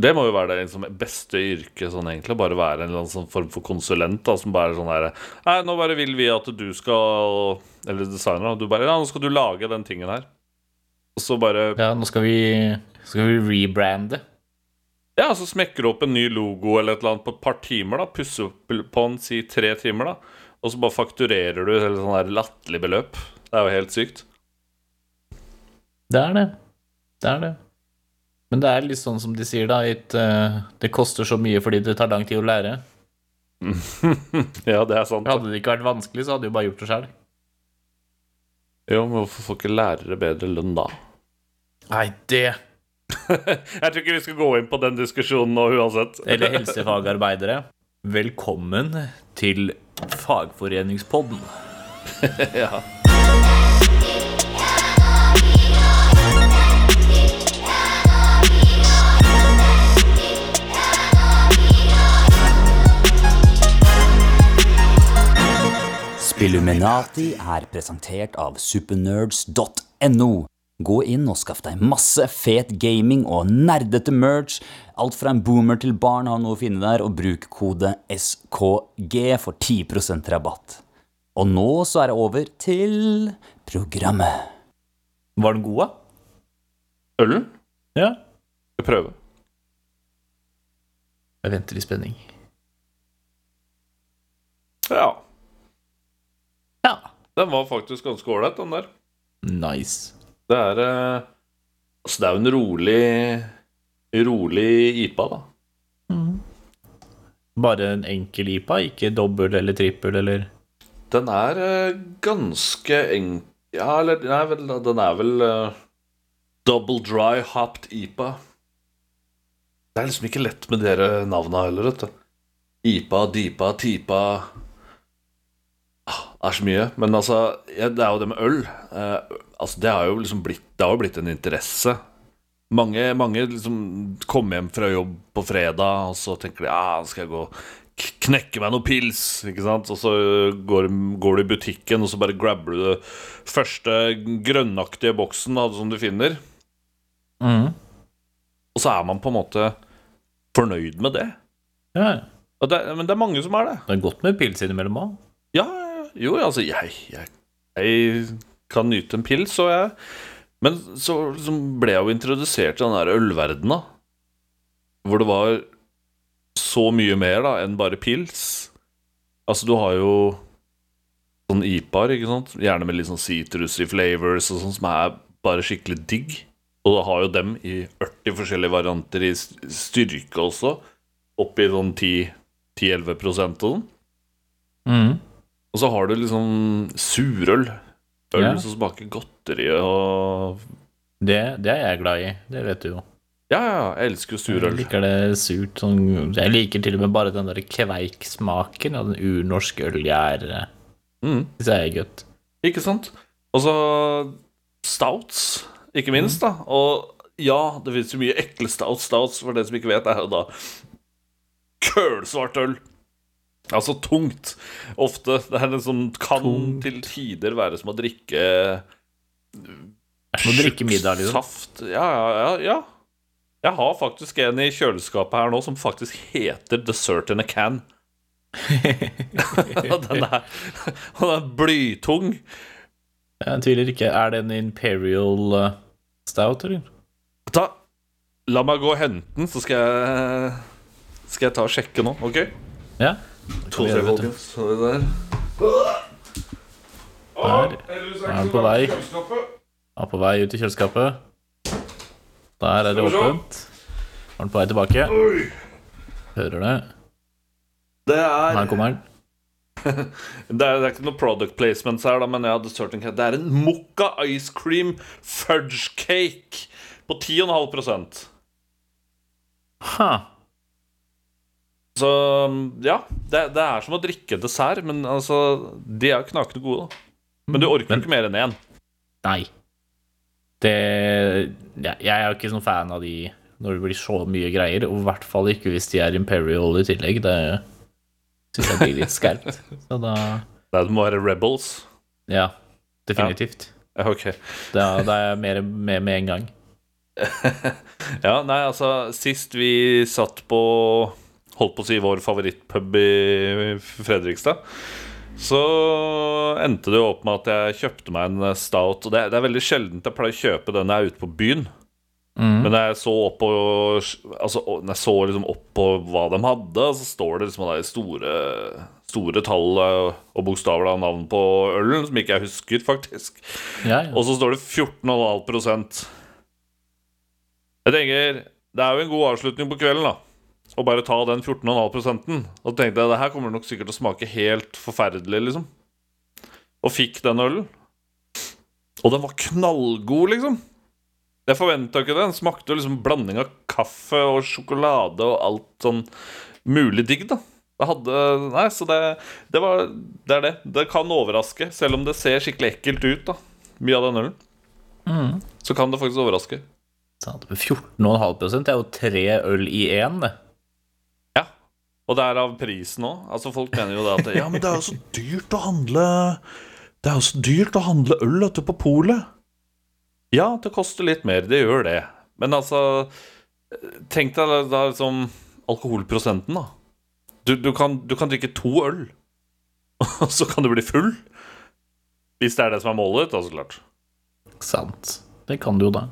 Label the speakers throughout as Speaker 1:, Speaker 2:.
Speaker 1: Det må jo være det liksom, beste yrket, sånn egentlig. Bare være en eller annen sånn form for konsulent da, som bare er sånn her Nei, nå bare vil vi at du skal Eller designer, da. Du bare Ja, nå skal du lage den tingen her. Og så bare
Speaker 2: Ja, nå skal vi, skal vi rebrande.
Speaker 1: Ja, så smekker du opp en ny logo eller et eller annet på et par timer. da Pusser opp på den, si tre timer, da. Og så bare fakturerer du hele sånn her latterlig beløp. Det er jo helt sykt.
Speaker 2: Det er det. Det er det. Men det er litt sånn som de sier, da. It, eh, det koster så mye fordi det tar lang tid å lære.
Speaker 1: Ja, det er sant.
Speaker 2: Hadde det ikke vært vanskelig, så hadde du bare gjort det sjøl.
Speaker 1: Jo, men hvorfor får ikke lærere bedre lønn da?
Speaker 2: Nei, det
Speaker 1: Jeg tror ikke vi skal gå inn på den diskusjonen nå uansett.
Speaker 2: Eller helsefagarbeidere. Velkommen til Fagforeningspodden.
Speaker 1: Ja.
Speaker 3: Spilluminati er presentert av supernerds.no. Gå inn og skaff deg masse fet gaming og nerdete merch. Alt fra en boomer til barn har noe å finne der, og bruk kode SKG for 10 rabatt. Og nå så er det over til programmet.
Speaker 2: Var den god, da?
Speaker 1: Ølen?
Speaker 2: Ja.
Speaker 1: Skal prøve.
Speaker 2: Jeg venter i spenning.
Speaker 1: Ja.
Speaker 2: Ja.
Speaker 1: Den var faktisk ganske ålreit, den der.
Speaker 2: Nice.
Speaker 1: Det er eh, Altså, det er jo en rolig Rolig IPA, da.
Speaker 2: Bare en enkel IPA, ikke dobbel eller trippel eller
Speaker 1: Den er eh, ganske enk... Ja, eller nei, vel, den er vel eh, Double dry hopped IPA. Det er liksom ikke lett med dere navna heller, vet du. IPA, DIPA, TIPA ah, Det er så mye. Men altså, ja, det er jo det med øl. Eh, altså, det har jo liksom blitt, det har jo blitt en interesse. Mange, mange liksom kommer hjem fra jobb på fredag, og så tenker de ja, nå skal jeg gå og k- knekke meg noen pils. Ikke sant? Og så går, går du i butikken, og så bare grabber du det første grønnaktige boksen da, som du finner. Og så er man på en måte fornøyd med det.
Speaker 2: Ja,
Speaker 1: Og det men det er mange som er det.
Speaker 2: det er godt med pils innimellom òg.
Speaker 1: Ja, jo, altså jeg, jeg, jeg kan nyte en pils, og jeg Men så liksom ble jeg jo introdusert til den der ølverdenen, da. Hvor det var så mye mer da enn bare pils. Altså, du har jo sånn IPA-er, ikke sant? Gjerne med litt sånn citrusy flavors og sånn, som er bare skikkelig digg. Og du har jo dem i 40 forskjellige varianter i s- styrke også. Opp i sånn 10 10-11 og sånn.
Speaker 2: Mm.
Speaker 1: Og så har du liksom surøl. Øl
Speaker 2: Ja.
Speaker 1: som smaker godteri og
Speaker 2: Det, det er jeg glad i, det vet du jo.
Speaker 1: Ja, ja, jeg elsker jo
Speaker 2: Jeg
Speaker 1: surøl.
Speaker 2: liker det surt. Sånn, jeg liker til og med bare den der kveiksmaken av den urnorske ølgjæret.
Speaker 1: Mm,
Speaker 2: Det syns eh, jeg er godt.
Speaker 1: ikke sant? Og så stouts, ikke
Speaker 2: Mm.
Speaker 1: minst, da. Og ja, det fins jo mye ekle stouts. Stouts, for det som ikke vet, er jo da kølsvart øl. Altså tungt. Ofte. Det er det som kan
Speaker 2: Tungt.
Speaker 1: til tider være som å drikke
Speaker 2: Må drikke middag, liksom.
Speaker 1: Saft. Ja, ja, ja, ja. Jeg har faktisk en i kjøleskapet her nå som faktisk heter Dessert in a Can. Og den er, og den er blytung.
Speaker 2: Jeg tviler ikke. Er det en Imperial eh, Stout, eller?
Speaker 1: Ta, la meg gå og hente den, så skal jeg, skal jeg ta og sjekke nå. OK?
Speaker 2: Ja.
Speaker 1: To
Speaker 2: gjøre, vet du.
Speaker 1: folkens. Så er det der.
Speaker 2: Der er den på vei. Er på vei ut i kjøleskapet. Der er det åpent. Er den på vei tilbake. Hører det.
Speaker 1: Det er,
Speaker 2: Her kommer den.
Speaker 1: det, er, det er ikke noe product placements her, da, men jeg hadde Dessert in a Can. Det er en Mocca ice cream fudge cake på 10,5
Speaker 2: Ha.
Speaker 1: Så ja, det, det er som å drikke dessert, men altså De er knakende gode, da. Men du orker
Speaker 2: Men-
Speaker 1: ikke mer enn én.
Speaker 2: Nei. Det Jeg jeg er jo ikke sånn fan av de når det blir så mye greier, og i hvert fall ikke hvis de er Imperial i tillegg. Det syns jeg blir litt skarpt. Så da
Speaker 1: Nei, det må være Rebels.
Speaker 2: Ja, definitivt.
Speaker 1: Ja, ok.
Speaker 2: Da, da er jeg mer med med en gang.
Speaker 1: Ja, nei, altså Sist vi satt på Holdt på å si vår favorittpub i Fredrikstad Så endte det jo opp med at jeg kjøpte meg en stout Og det, det er veldig sjeldent jeg pleier å kjøpe den når jeg er ute på byen Men når jeg så opp på Altså når jeg så liksom opp på hva de hadde Så står det liksom de store, store tall og bokstaver av navn på ølen Som ikke jeg husker faktisk
Speaker 2: Ja, ja.
Speaker 1: og så står det 14,5 Jeg tenker Det er jo en god avslutning på kvelden, da. Å bare ta den 14,5 Og tenkte jeg det her kommer nok sikkert til å smake helt forferdelig, liksom. Og fikk den ølen. Og den var knallgod, liksom. Jeg forventa ikke det. Den smakte jo liksom blanding av kaffe og sjokolade og alt sånn mulig digg, da. Det hadde Nei, så det, det var Det er det. Det kan overraske, selv om det ser skikkelig ekkelt ut, da mye av den ølen, så kan det faktisk overraske.
Speaker 2: Sant. Men 14,5 er jo tre øl i én, det.
Speaker 1: Ja. Og det er av prisen òg. Altså, folk mener jo det at Ja, men det er jo så dyrt å handle Det er jo så dyrt å handle øl vet du, på polet. Ja, det koster litt mer. Det gjør det. Men altså Tenk deg da- da liksom alkoholprosenten, da. Du, du, kan, du kan drikke to øl, og så kan du bli full. Hvis det er det som er målet, da, så klart.
Speaker 2: Sant. Det kan du jo, da.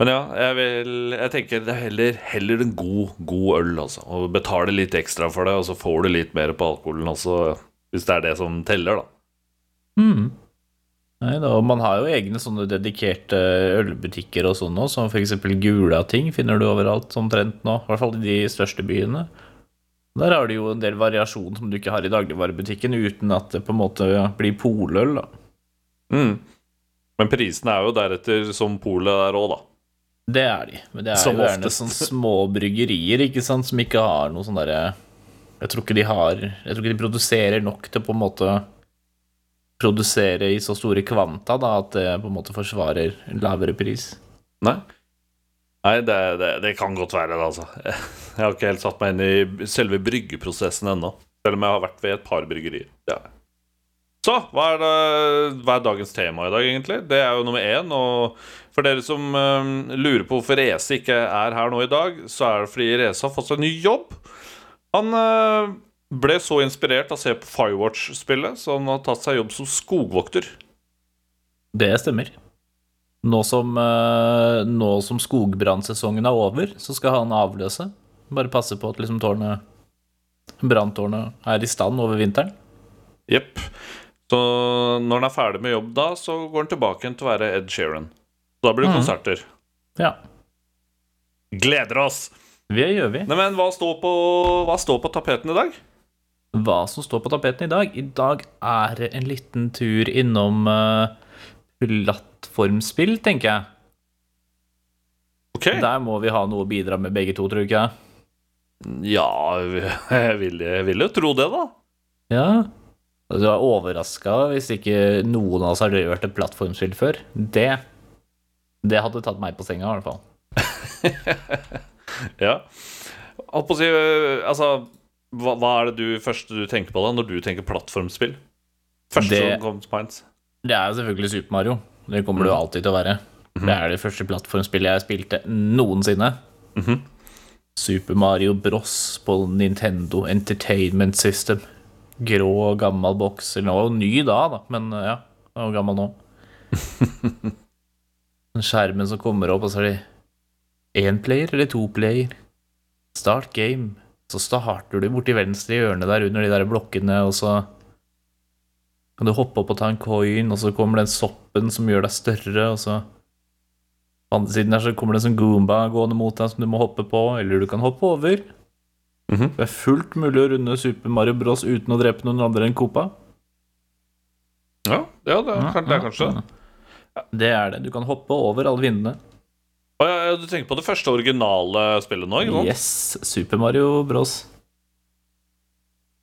Speaker 1: Men ja, jeg, vil, jeg tenker det er heller, heller en god, god øl, altså. Og betale litt ekstra for det, og så får du litt mer på alkoholen også, hvis det er det som teller, da.
Speaker 2: Nei, da, og man har jo egne sånne dedikerte ølbutikker og sånn òg, som f.eks. Gula ting finner du overalt omtrent nå, i hvert fall i de største byene. Der har du jo en del variasjon som du ikke har i dagligvarebutikken, uten at det på en måte blir poløl, da.
Speaker 1: Men prisene er jo deretter som polet er òg, da.
Speaker 2: Det er de. Men det er
Speaker 1: Som
Speaker 2: jo gjerne
Speaker 1: oftest.
Speaker 2: sånne små bryggerier ikke sant, som ikke har noe sånn derre Jeg tror ikke de har Jeg tror ikke de produserer nok til på en måte produsere i så store kvanta da, at det på en måte forsvarer en lavere pris.
Speaker 1: Nei, Nei det, det, det kan godt være det, altså. Jeg har ikke helt satt meg inn i selve bryggeprosessen ennå. Selv om jeg har vært ved et par bryggerier. Det har jeg. Så, hva er, det, hva er dagens tema i dag, egentlig? Det er jo nummer én. Og for dere som eh, lurer på hvorfor Reze ikke er her nå i dag, så er det fordi Reze har fått seg ny jobb. Han eh, ble så inspirert av å se på Firewatch-spillet, så han har tatt seg jobb som skogvokter.
Speaker 2: Det stemmer. Nå som, eh, nå som skogbrannsesongen er over, så skal han avløse. Bare passe på at liksom tårnet branntårnet er i stand over vinteren.
Speaker 1: Jepp. Så når han er ferdig med jobb da, så går han tilbake igjen til å være Ed Sheeran. Så da blir det konserter.
Speaker 2: Ja,
Speaker 1: Gleder oss!
Speaker 2: det gjør vi.
Speaker 1: Nei, men hva står på, hva står på tapeten i dag?
Speaker 2: Hva som står på tapeten i dag? I dag er det en liten tur innom eh, plattformspill, tenker jeg.
Speaker 1: Ok.
Speaker 2: Der må vi ha noe å bidra med begge to, tror jeg. ikke?
Speaker 1: Ja, jeg vil, jeg vil jo tro det, da.
Speaker 2: Ja. Du er overraska hvis ikke noen av oss har rørt et plattformspill før. Det Det hadde tatt meg på senga, i hvert fall.
Speaker 1: Ja. Holdt på å si øh, Altså, hva, hva er det du, første du tenker på da, når du tenker plattformspill? Første
Speaker 2: Det-
Speaker 1: som kom til minds.
Speaker 2: Det er jo selvfølgelig Super Mario. Det kommer det jo alltid til å være. Det er det første plattformspillet jeg spilte noensinne. Super Mario Bros på Nintendo Entertainment System. Grå og gammel boks. Eller den var jo ny da, da, men eh, ja, den var jo gammel nå. Den skjermen som kommer opp, og så er det én player eller to player. Start game. Så starter du borti venstre hjørne der under de der blokkene, og så kan du hoppe opp og ta en coin, og så kommer den soppen som gjør deg større, og så På andre siden der så kommer det en sånn goomba gående mot deg som du må hoppe på, eller du kan hoppe over.
Speaker 1: Mhm.
Speaker 2: Det er fullt mulig å runde Super Mario Bros uten å drepe noen andre enn Copa.
Speaker 1: Ja, ja, det er, kan- det er kanskje det.
Speaker 2: Det er det. Du kan hoppe over alle vindene.
Speaker 1: Å, ja, ja, du tenker på det første originale spillet nå? ikke sant?
Speaker 2: Yes, Super Mario Bros.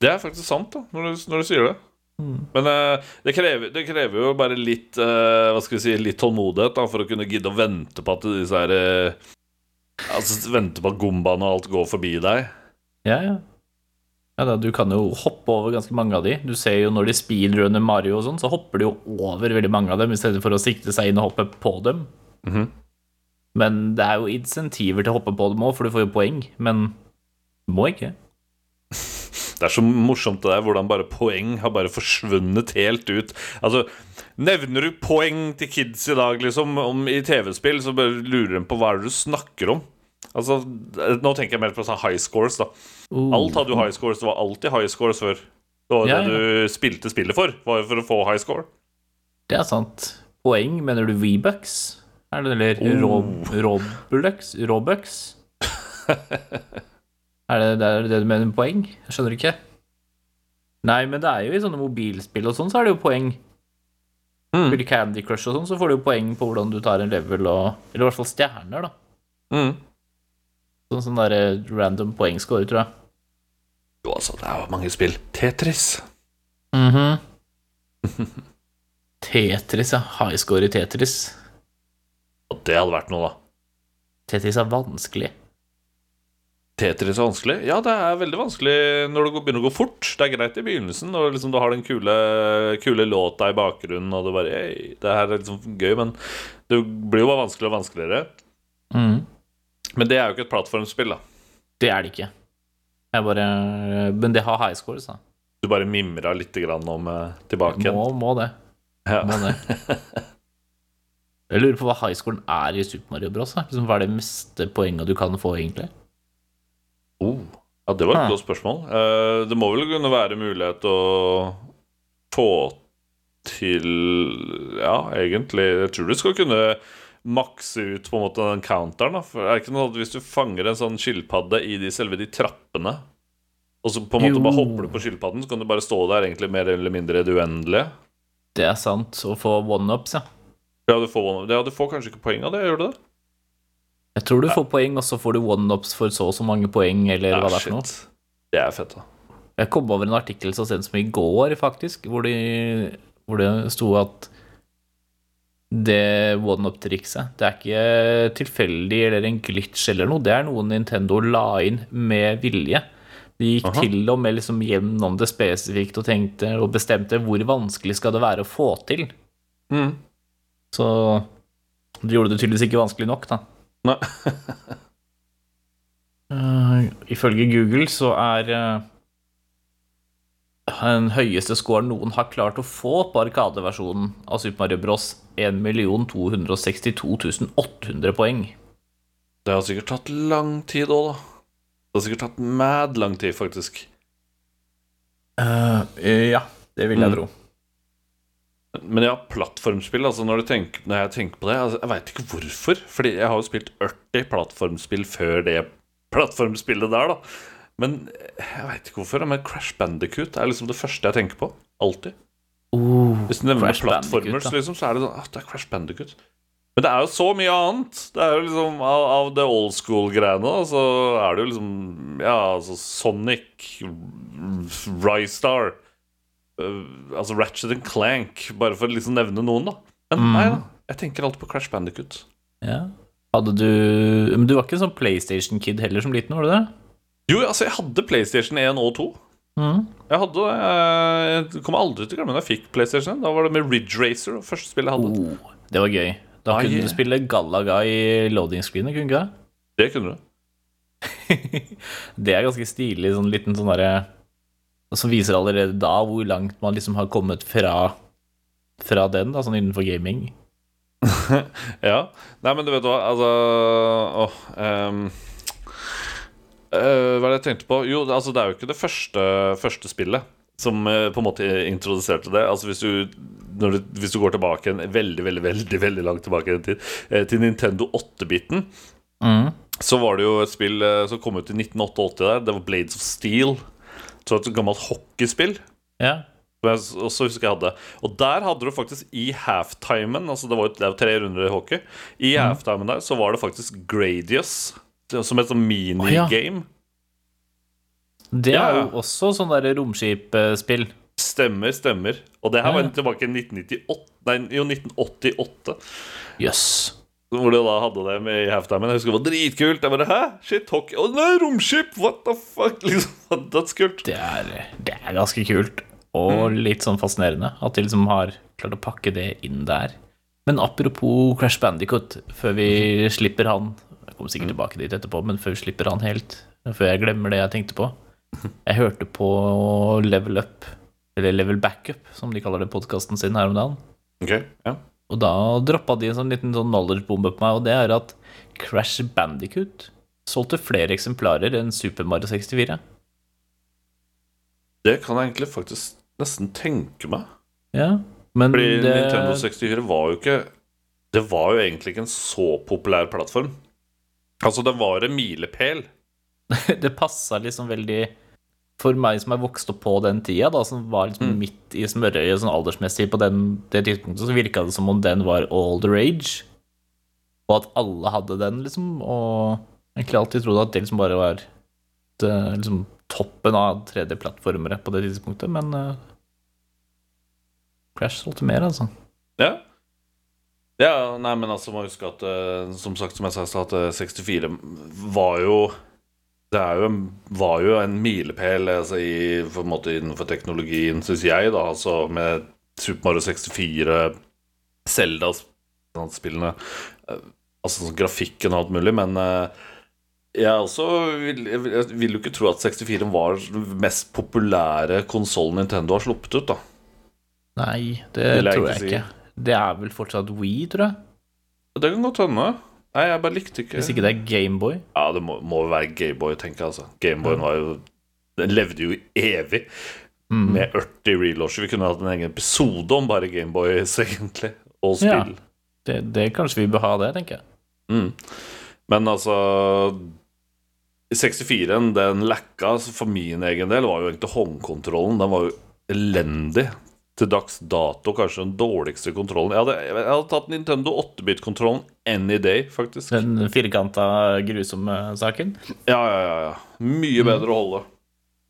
Speaker 1: Det er faktisk sant, da, når du, når du sier det. Men eh, det, krever, det krever jo bare litt eh, Hva skal vi si, litt tålmodighet da for å kunne gidde å vente på at disse her eh, Altså vente på at gombaene og alt går forbi deg.
Speaker 2: Ja, ja. ja da, du kan jo hoppe over ganske mange av de. Du ser jo når de speedrunner Mario og sånn, så hopper de jo over veldig mange av dem, i stedet for å sikte seg inn og hoppe på dem. Men det er jo insentiver til å hoppe på dem òg, for du får jo poeng. Men må ikke.
Speaker 1: Det er så morsomt det der hvordan bare poeng har bare forsvunnet helt ut. Altså, Nevner du poeng til kids i dag, liksom, om, i TV-spill, så bare lurer de på hva er det du snakker om. Altså, det- Nå tenker jeg mer på sånn high scores. da Alt hadde jo high scores. Det var alltid high scores før. Det var jo
Speaker 2: Ja,
Speaker 1: det
Speaker 2: ja.
Speaker 1: du spilte spillet for, var jo for å få high score.
Speaker 2: Det er sant. Poeng, mener du V-bucks? Er det- Eller
Speaker 1: Oh.
Speaker 2: rob, Robulux? Robux? er det, det er det du mener med poeng? Jeg skjønner ikke. Nei, men det er jo i sånne mobilspill og sånn, så er det jo poeng.
Speaker 1: Mm.
Speaker 2: Spiller Candy Crush og sånn, så får du jo poeng på hvordan du tar en level og Eller i hvert fall stjerner, da.
Speaker 1: Mm.
Speaker 2: Sånn sånn der eh, random poengscore, tror jeg.
Speaker 1: Jo, altså, det er jo mange spill. Tetris.
Speaker 2: Mhm. Tetris, ja. Highscore i Tetris.
Speaker 1: Og det hadde vært noe, da.
Speaker 2: Tetris er vanskelig.
Speaker 1: Tetris er vanskelig? Ja, det er veldig vanskelig når det går- begynner å gå fort. Det er greit i begynnelsen når liksom du har den kule, kule låta i bakgrunnen, og det bare «Ei, Det her er liksom gøy, men det blir jo bare vanskeligere og vanskeligere. Mm. Men det er jo ikke et plattformspill, da.
Speaker 2: Det er det ikke. Jeg bare Men det har highscores, da.
Speaker 1: Du bare mimra litt grann om eh, tilbake igjen.
Speaker 2: Må, må det.
Speaker 1: Ja.
Speaker 2: Må det. Jeg lurer på hva highscoren er i Super Mario Bros. da. Liksom, hva er det meste poenget du kan få, egentlig?
Speaker 1: Oh. ja, det var et
Speaker 2: Hmm.
Speaker 1: godt spørsmål. Eh, det må vel kunne være mulighet å få til Ja, egentlig Jeg tror du skal kunne makse ut på en måte den counteren. Da. For er det ikke noe at Hvis du fanger en sånn skilpadde i de, selve de trappene, og så på en måte
Speaker 2: Jo.
Speaker 1: bare hopper du på skilpadden, så kan du bare stå der egentlig mer eller mindre i det uendelige.
Speaker 2: Det er sant. Å få one-ups, ja.
Speaker 1: Ja, du får, ja, du får kanskje ikke poeng av det, gjør du det?
Speaker 2: Jeg tror du får poeng, og så får du one-ups for så og så mange poeng, eller hva det er for noe.
Speaker 1: shit. Det er fett, da.
Speaker 2: Jeg kom over en artikkel så sent som i går, faktisk, hvor, de, hvor det sto at det one-up-trikset Det er ikke tilfeldig eller en glitch eller noe. Det er noe Nintendo la inn med vilje. De gikk
Speaker 1: Aha.
Speaker 2: til og med liksom gjennom det spesifikt og tenkte og bestemte hvor vanskelig skal det være å få til.
Speaker 1: Mm.
Speaker 2: Så de gjorde det tydeligvis ikke vanskelig nok, da.
Speaker 1: Nei.
Speaker 2: Eh, ifølge Google så er eh, den høyeste scoren noen har klart å få på Arkadeversjonen av Super Mario Bros. 1 262 800 poeng.
Speaker 1: Det har sikkert tatt lang tid òg, da. Det har sikkert tatt mad lang tid, faktisk.
Speaker 2: Eh, ja, det vil
Speaker 1: jeg
Speaker 2: tro.
Speaker 1: Men ja, plattformspill, altså når, du tenker, når jeg tenker på det altså, Jeg veit ikke hvorfor. Fordi jeg har jo spilt 80 plattformspill før det plattformspillet der, da. Men eh, jeg veit ikke hvorfor. Men Crash Bandicoot er liksom det første jeg tenker på. Alltid. Hvis du nevner
Speaker 2: Oh, Crash
Speaker 1: plattformer,
Speaker 2: Bandicoot, da.
Speaker 1: så liksom, så er det sånn ah, det er Crash Bandicoot. Men det er jo så mye annet. Det er jo liksom Av, av det old school-greiene, da, så er det jo liksom Ja, altså Sonic, Rystar øh, Altså Ratchet and Clank, bare for å liksom nevne noen, da. Men
Speaker 2: Mm.
Speaker 1: nei da. Jeg tenker alltid på Crash Bandicoot.
Speaker 2: ja. Hadde du Men du var ikke en sånn PlayStation-kid heller som liten, var du det?
Speaker 1: Jo, altså, jeg hadde PlayStation 1 og 2.
Speaker 2: Mhm.
Speaker 1: Jeg hadde det. Jeg kommer aldri til å glemme da jeg fikk PlayStation 1. Da var det med Ridge Racer, det første spillet jeg hadde.
Speaker 2: Oh, det var gøy. Da
Speaker 1: Ah,
Speaker 2: kunne
Speaker 1: yeah.
Speaker 2: du spille Galaga i loading-screenet, kunne du ikke det?
Speaker 1: Det kunne du.
Speaker 2: Det er ganske stilig, sånn liten sånn derre Som viser allerede da hvor langt man liksom har kommet fra Fra den, da, sånn innenfor gaming.
Speaker 1: Ja. Nei, men du vet hva, altså Åh ehm, eh, Hva er det jeg tenkte på? Jo, det- altså, det er jo ikke det første, første spillet som eh, på en måte introduserte det. Altså Hvis du, når du, hvis du går tilbake en, veldig veldig, veldig, veldig langt tilbake i tid, eh, til Nintendo 8-biten, så var det jo et spill eh, som kom ut i 1988 der. Det var Blades of Steel. Så et gammelt hockeyspill.
Speaker 2: Ja.
Speaker 1: Som jeg s- også husker jeg hadde Og der hadde du faktisk i halftimen Altså det var jo det er jo tre runder i hockey I
Speaker 2: Mhm.
Speaker 1: halftimen der så var det faktisk Gradius Som et sånn
Speaker 2: Å,
Speaker 1: minigame
Speaker 2: Det
Speaker 1: Ja,
Speaker 2: er
Speaker 1: ja.
Speaker 2: jo også sånn derre romskipspill.
Speaker 1: Stemmer, stemmer Og det her
Speaker 2: Ja,
Speaker 1: var
Speaker 2: ja.
Speaker 1: tilbake i 1998 Nei, jo 1988
Speaker 2: Jøss.
Speaker 1: Hvor de da hadde det med i halftimen Jeg husker det var dritkult Jeg bare, hæ? Shit, hockey Å nei, romskip, what the fuck Liksom, that's kult
Speaker 2: Det, er- det er
Speaker 1: Mm.
Speaker 2: ganske kult. Og litt sånn fascinerende at de liksom har klart å pakke det inn der. Men apropos Crash Bandicoot, før
Speaker 1: Mhm.
Speaker 2: vi slipper han Jeg kommer
Speaker 1: Mm.
Speaker 2: sikkert tilbake dit etterpå, men før vi slipper han helt, før jeg glemmer det jeg tenkte på Jeg hørte på Level Up, eller Level Backup, som de kaller det podkasten sin her om dagen.
Speaker 1: Ok, ja.
Speaker 2: Og da droppa de en sånn liten sånn knowledge-bombe på meg, og det er at Crash Bandicoot solgte flere eksemplarer enn Super Mario 64.
Speaker 1: Det kan jeg egentlig faktisk nesten tenke meg.
Speaker 2: Ja, men
Speaker 1: Fordi
Speaker 2: det,
Speaker 1: Nintendo 64 var jo ikke Det var jo egentlig ikke en så populær plattform. Altså, det var en milepæl.
Speaker 2: det passa liksom veldig For meg som er vokst opp på den tida, da, som var liksom
Speaker 1: Mm.
Speaker 2: midt i smørøyet sånn aldersmessig på den, det tidspunktet, så virka det som om den var all the rage. Og at alle hadde den, liksom. Og jeg har egentlig alltid trodd at det liksom bare var det, liksom, toppen av 3D-plattformere på det tidspunktet, men eh, Crash solgte mer, altså.
Speaker 1: Ja. ja. Nei, men altså, må huske at eh, som sagt, som jeg sa i stad, at eh, 64 var jo Det er jo, en- var jo en milepæl altså, i, på en måte, innenfor teknologien, syns jeg, da. Altså med Super Mario 64, Zelda-spillene eh, Altså sånn grafikken og alt mulig, men eh, jeg også vil, jeg vil, jeg vil jo ikke tro at 64 var den mest populære konsollen Nintendo har sluppet ut, da.
Speaker 2: Nei, det,
Speaker 1: Vil jeg
Speaker 2: tror
Speaker 1: ikke
Speaker 2: jeg
Speaker 1: si.
Speaker 2: ikke. Det er vel fortsatt We, tror jeg.
Speaker 1: Det kan godt hende. Nei, jeg bare likte ikke
Speaker 2: Hvis ikke det er Gameboy.
Speaker 1: Ja, det må, må være Gameboy, tenker jeg. altså Gameboyen var jo Den levde jo evig
Speaker 2: Mm.
Speaker 1: med 80 relauncher. Vi kunne hatt en egen episode om bare Gameboys, egentlig, og
Speaker 2: Ja.
Speaker 1: spill.
Speaker 2: Det, det kanskje vi bør ha det, tenker jeg.
Speaker 1: Men altså 64-en, den lacka så for min egen del, var jo egentlig håndkontrollen. Den var jo elendig. Til dags dato kanskje den dårligste kontrollen. Jeg hadde, jeg hadde tatt Nintendo 8-bit-kontrollen any day, faktisk. Ja,
Speaker 2: Den firkanta, grusomme saken?
Speaker 1: ja, ja. ja. Mye
Speaker 2: Mm.
Speaker 1: bedre å holde.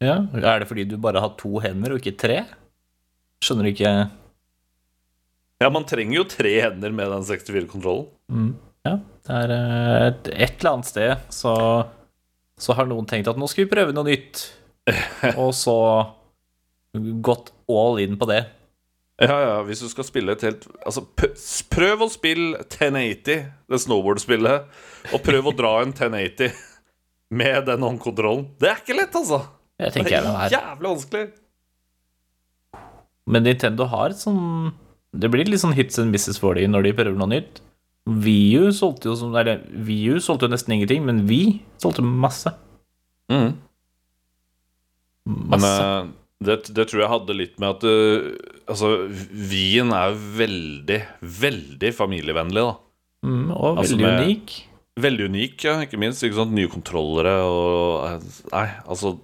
Speaker 2: Ja. Er det fordi du bare har to hender og ikke tre? Skjønner ikke
Speaker 1: Ja, man trenger jo tre hender med den 64-kontrollen.
Speaker 2: Ja, det er eh, et, et eller annet sted så, så har noen tenkt at nå skal vi prøve noe nytt. Og så gått all in på det.
Speaker 1: Ja, ja, hvis du skal spille et helt Altså, p- s- prøv å spille 1080, det snowboard-spillet, og prøv å dra en 1080 med den håndkontrollen. Det er ikke lett, altså!
Speaker 2: Jeg
Speaker 1: Det
Speaker 2: tenker jeg
Speaker 1: er
Speaker 2: det er.
Speaker 1: jævlig vanskelig.
Speaker 2: Men Nintendo har et sånn Det blir litt sånn hits and misses for dem når de prøver noe nytt. VU solgte jo som Eller VU solgte jo nesten ingenting, men vi solgte masse.
Speaker 1: Men
Speaker 2: Masse.
Speaker 1: eh, det, det tror jeg hadde litt med at eh, Altså, Wien er jo veldig, veldig familievennlig, da.
Speaker 2: Mm, og
Speaker 1: altså
Speaker 2: veldig
Speaker 1: med-
Speaker 2: unik.
Speaker 1: Veldig unik, ja, ikke minst. Ikke sant? Nye kontrollere og Nei, altså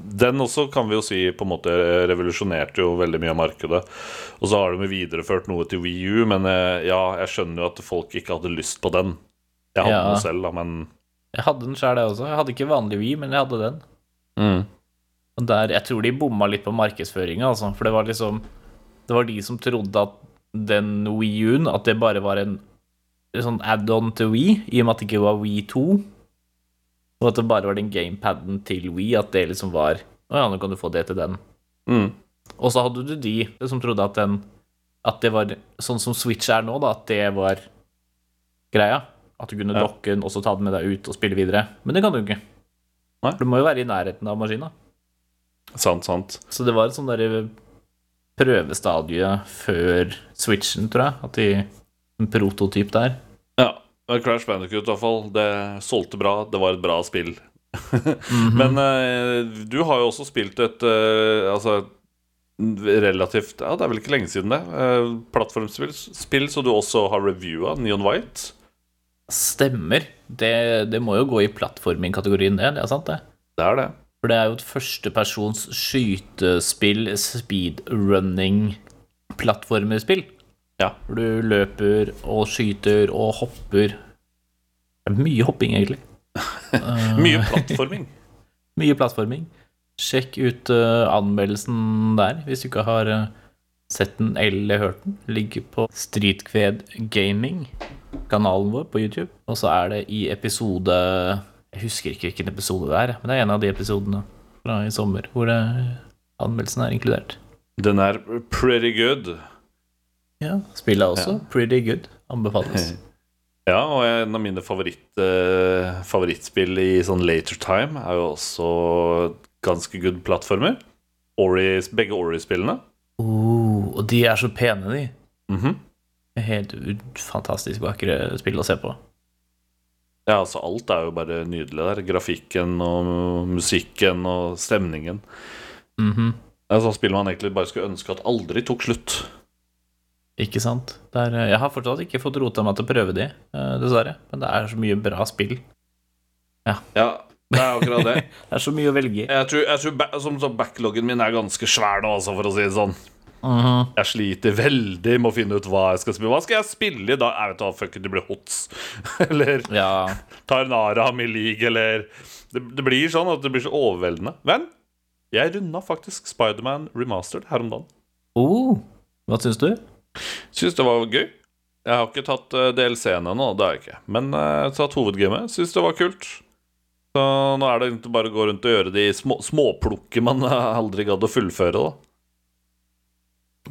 Speaker 1: Den også kan vi jo si på en måte revolusjonerte jo veldig mye av markedet. Og så har de jo videreført noe til Wii U, men eh, ja, jeg skjønner jo at folk ikke hadde lyst på den. Jeg hadde
Speaker 2: Ja.
Speaker 1: den selv, da, men
Speaker 2: Jeg hadde den sjøl, jeg også. Jeg hadde ikke vanlig Wii, men jeg hadde den. Og der, Jeg tror de bomma litt på markedsføringa, altså. For det var liksom Det var de som trodde at den Wii U-en At det bare var en en sånn add-on til Wii, i og med at det ikke var Wii 2. Og at det bare var den gamepaden til Wii, at det liksom var Å ja, nå kan du få det til den.
Speaker 1: Mm.
Speaker 2: Og så hadde du de som trodde at den At det var sånn som Switch er nå, da, at det var greia. At du kunne
Speaker 1: Ja.
Speaker 2: dokke den, og så ta den med deg ut og spille videre. Men det kan du ikke.
Speaker 1: Nei.
Speaker 2: Du må jo være i nærheten av maskina.
Speaker 1: Sant, sant.
Speaker 2: Så det var et sånn derre prøvestadie før Switchen, tror jeg. At de En prototyp der.
Speaker 1: Ja. men Crash Bandicoot, iallfall. Det solgte bra. Det var et bra spill. Men eh, du har jo også spilt et eh, Altså relativt Ja, det er vel ikke lenge siden det. eh, plattformspill spill, så du også har reviewa Neon White.
Speaker 2: Stemmer. Det, det må jo gå i plattforming-kategorien, det. Det er sant, det.
Speaker 1: Det er det.
Speaker 2: For det er jo et førstepersons skytespill, speedrunning, plattformerspill.
Speaker 1: Ja.
Speaker 2: Hvor du løper og skyter og hopper. Det er mye hopping, egentlig.
Speaker 1: Mye plattforming.
Speaker 2: Mye plattforming. Sjekk ut eh, anmeldelsen der, hvis du ikke har eh, sett den eller hørt den. Ligger på Streetkved Gaming, kanalen vår på YouTube. Og så er det i episode Jeg husker ikke hvilken episode det er, men det er en av de episodene fra i eh, sommer hvor det, anmeldelsen er inkludert.
Speaker 1: Den er pretty good.
Speaker 2: Ja, Spillet er også pretty good. Anbefales.
Speaker 1: Ja, og en av mine favoritt, eh, favorittspill i sånn later time er jo også ganske good plattformer. Ori, begge Ori-spillene.
Speaker 2: Oh, og de er så pene, de.
Speaker 1: Mhm.
Speaker 2: Helt ut- fantastisk vakre spill å se på.
Speaker 1: Ja, altså alt er jo bare nydelig der. Grafikken og musikken og stemningen.
Speaker 2: Mhm.
Speaker 1: Det er sånn spill man egentlig bare skulle ønske at aldri tok slutt.
Speaker 2: Ikke sant? Det er, eh, jeg har fortsatt ikke fått rota meg til å prøve de, eh, dessverre. Men det er så mye bra spill.
Speaker 1: Ja, det er akkurat det.
Speaker 2: Det er så mye å velge i.
Speaker 1: Jeg tror, jeg tror ba som sagt, backloggen min er ganske svær nå, altså, for å si det sånn.
Speaker 2: Mhm.
Speaker 1: Jeg sliter veldig med å finne ut hva jeg skal spille. Hva skal jeg spille i dag? Jeg vet da, fuck it, det blir hots. Eller
Speaker 2: Ja.
Speaker 1: Tarnara Arami League, eller det, det blir sånn at det blir så overveldende. Men jeg runda faktisk Spiderman Remastered her om dagen.
Speaker 2: Oh, hva syns du?
Speaker 1: Syns det var gøy. Jeg har ikke tatt eh, DLC-en ennå, det har jeg ikke. Men eh, jeg har tatt hovedgamet. Syns det var kult. Så nå er det egentlig bare å gå rundt og gjøre de små, småplukket man eh, aldri gadd å fullføre, da.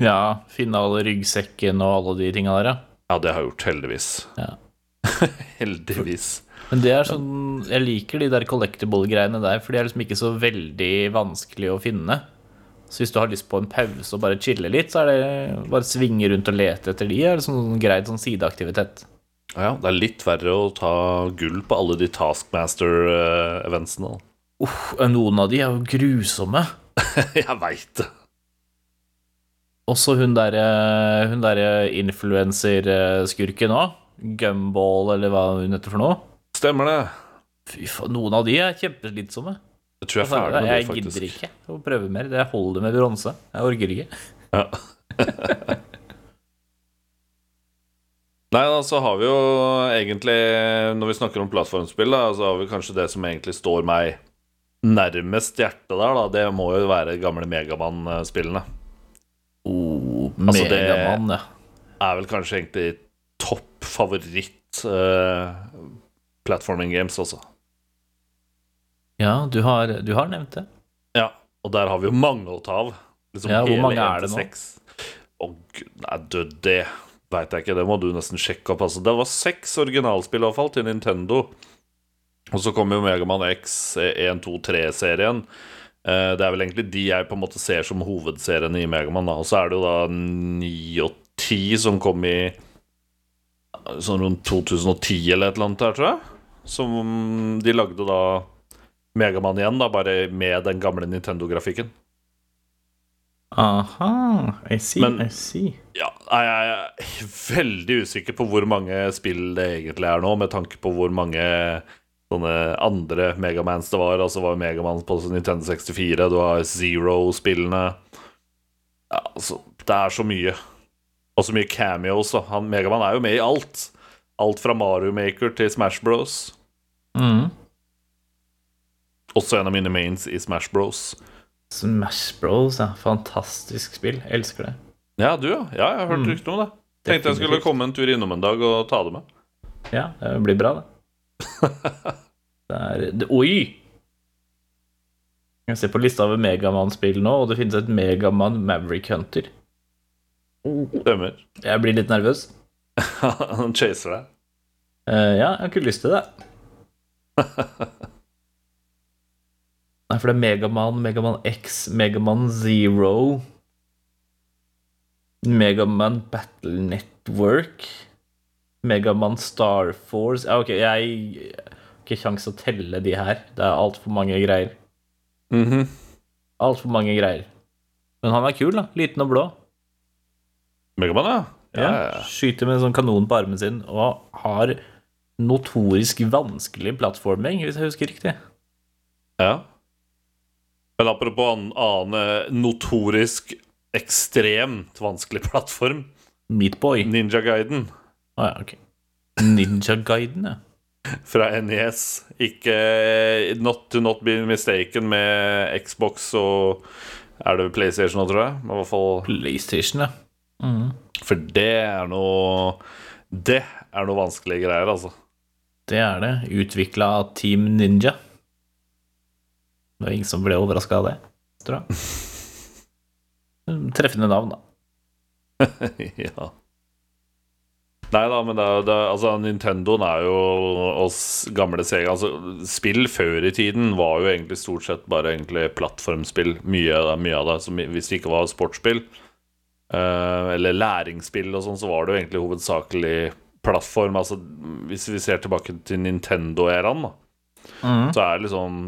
Speaker 2: Ja, finne alle ryggsekken og alle de tinga der, ja.
Speaker 1: Ja, det har jeg gjort, heldigvis.
Speaker 2: Ja.
Speaker 1: heldigvis.
Speaker 2: Men det er sånn Jeg liker de der collectible-greiene der, for de er liksom ikke så veldig vanskelig å finne. Så hvis du har lyst på en pause og bare chille litt, så er det bare svinge rundt og lete etter de. Er det sånn greit sånn sideaktivitet.
Speaker 1: Ja, det er litt verre å ta gull på alle de eh, Taskmaster-eventsene.
Speaker 2: Uff, noen av de er jo grusomme.
Speaker 1: jeg veit det.
Speaker 2: Også hun der, eh, hun der eh, influenserskurken òg. Gumball, eller hva hun heter for noe.
Speaker 1: Stemmer det.
Speaker 2: Fy faen, noen av de er kjempeslitsomme.
Speaker 1: Jeg tror jeg er
Speaker 2: Altså,
Speaker 1: ferdig med det,
Speaker 2: jeg
Speaker 1: faktisk.
Speaker 2: gidder ikke å prøve mer. Det holder med bronse. Jeg orker ikke.
Speaker 1: Ja. Nei, da, så har vi jo egentlig Når vi snakker om plattformspill, da, så har vi kanskje det som egentlig står meg nærmest hjertet der, da. Det må jo være gamle Megaman-spillene.
Speaker 2: Oh,
Speaker 1: Altså, det-
Speaker 2: Megamann, ja.
Speaker 1: Er vel kanskje egentlig topp favoritt eh, platforming games altså. også.
Speaker 2: Ja, du har, du har nevnt det.
Speaker 1: Ja, og der har vi jo mange å ta av. Liksom
Speaker 2: Ja, hvor
Speaker 1: hele 1
Speaker 2: mange er det
Speaker 1: til
Speaker 2: nå?
Speaker 1: 6. Å gud, nei, du, det veit jeg ikke. Det må du nesten sjekke opp. Altså. Det var seks originalspill i hvert fall til Nintendo. Og så kom jo Megaman X, eh, 1, 2, 3-serien. Eh, Det er vel egentlig de jeg på en måte ser som hovedseriene i Megaman. da. Og så er det jo da 9 og 10 som kom i eh, sånn rundt 2010 eller et eller annet der, tror jeg. Som de lagde da Megaman igjen, da, bare med den gamle Nintendo-grafikken.
Speaker 2: Aha, I see,
Speaker 1: Men-
Speaker 2: I see.
Speaker 1: Ja, nei, jeg er veldig usikker på hvor mange spill det egentlig er nå, med tanke på hvor mange sånne andre Megamans det var. Altså det var Megaman på Nintendo 64, du har Zero-spillene Ja, altså, det er så mye. Og så mye cameos. da. Han, Megaman er jo med i alt. Alt fra Mario Maker til Smash Bros.
Speaker 2: Mhm.
Speaker 1: Også en av mine mains i Smash Bros.
Speaker 2: Smash Bros, ja. Fantastisk spill. Elsker det.
Speaker 1: Ja, du, ja. ja jeg har hørt rykter om det. Tenkte jeg skulle
Speaker 2: Mm. Definitivt.
Speaker 1: komme en tur innom en dag og ta det med.
Speaker 2: Ja, det blir bra, det. det er det, Oi! Jeg ser på lista over Megaman-spill nå, og det finnes et Megaman Maverick Hunter. Oh.
Speaker 1: Stemmer.
Speaker 2: Jeg blir litt nervøs.
Speaker 1: Han chaser deg.
Speaker 2: Eh, ja, jeg har ikke lyst til det. Nei, for det er Megaman, Megaman X, Megaman Zero Megaman Battle Network Megaman Star Force ja, Ok, jeg har ikke kjangs å telle de her. Det er altfor mange greier. Altfor mange greier. Men han er kul, da. Liten og blå.
Speaker 1: Megaman, ja.
Speaker 2: Ja,
Speaker 1: Ja, ja.
Speaker 2: Skyter med en sånn kanon på armen sin og har notorisk vanskelig plattforming, hvis jeg husker riktig.
Speaker 1: ja. Men apropos annen, annen eh, notorisk ekstremt vanskelig plattform,
Speaker 2: Meatboy.
Speaker 1: Ninja Guiden
Speaker 2: Å ja, ok. Ninja-guiden, ja.
Speaker 1: fra NES. Ikke eh, Not to not be mistaken med Xbox og Er det PlayStation nå, tror jeg? Men I hvert fall
Speaker 2: PlayStation, ja.
Speaker 1: For det er noe Det er noe vanskelige greier, altså.
Speaker 2: Det er det. Utvikla av Team Ninja. Det var ingen som ble overraska av det, tror jeg. Treffende navn, da.
Speaker 1: ja. Nei da, men det, er- det, er- altså, Nintendoen er jo oss gamle Sega altså, Spill før i tiden var jo egentlig stort sett bare egentlig plattformspill. Mye, mye av det. Som, hvis det ikke var sportsspill eh, eller læringsspill og sånn, så var det jo egentlig hovedsakelig plattform. Altså, hvis vi ser tilbake til Nintendo-æraen, da, så er det liksom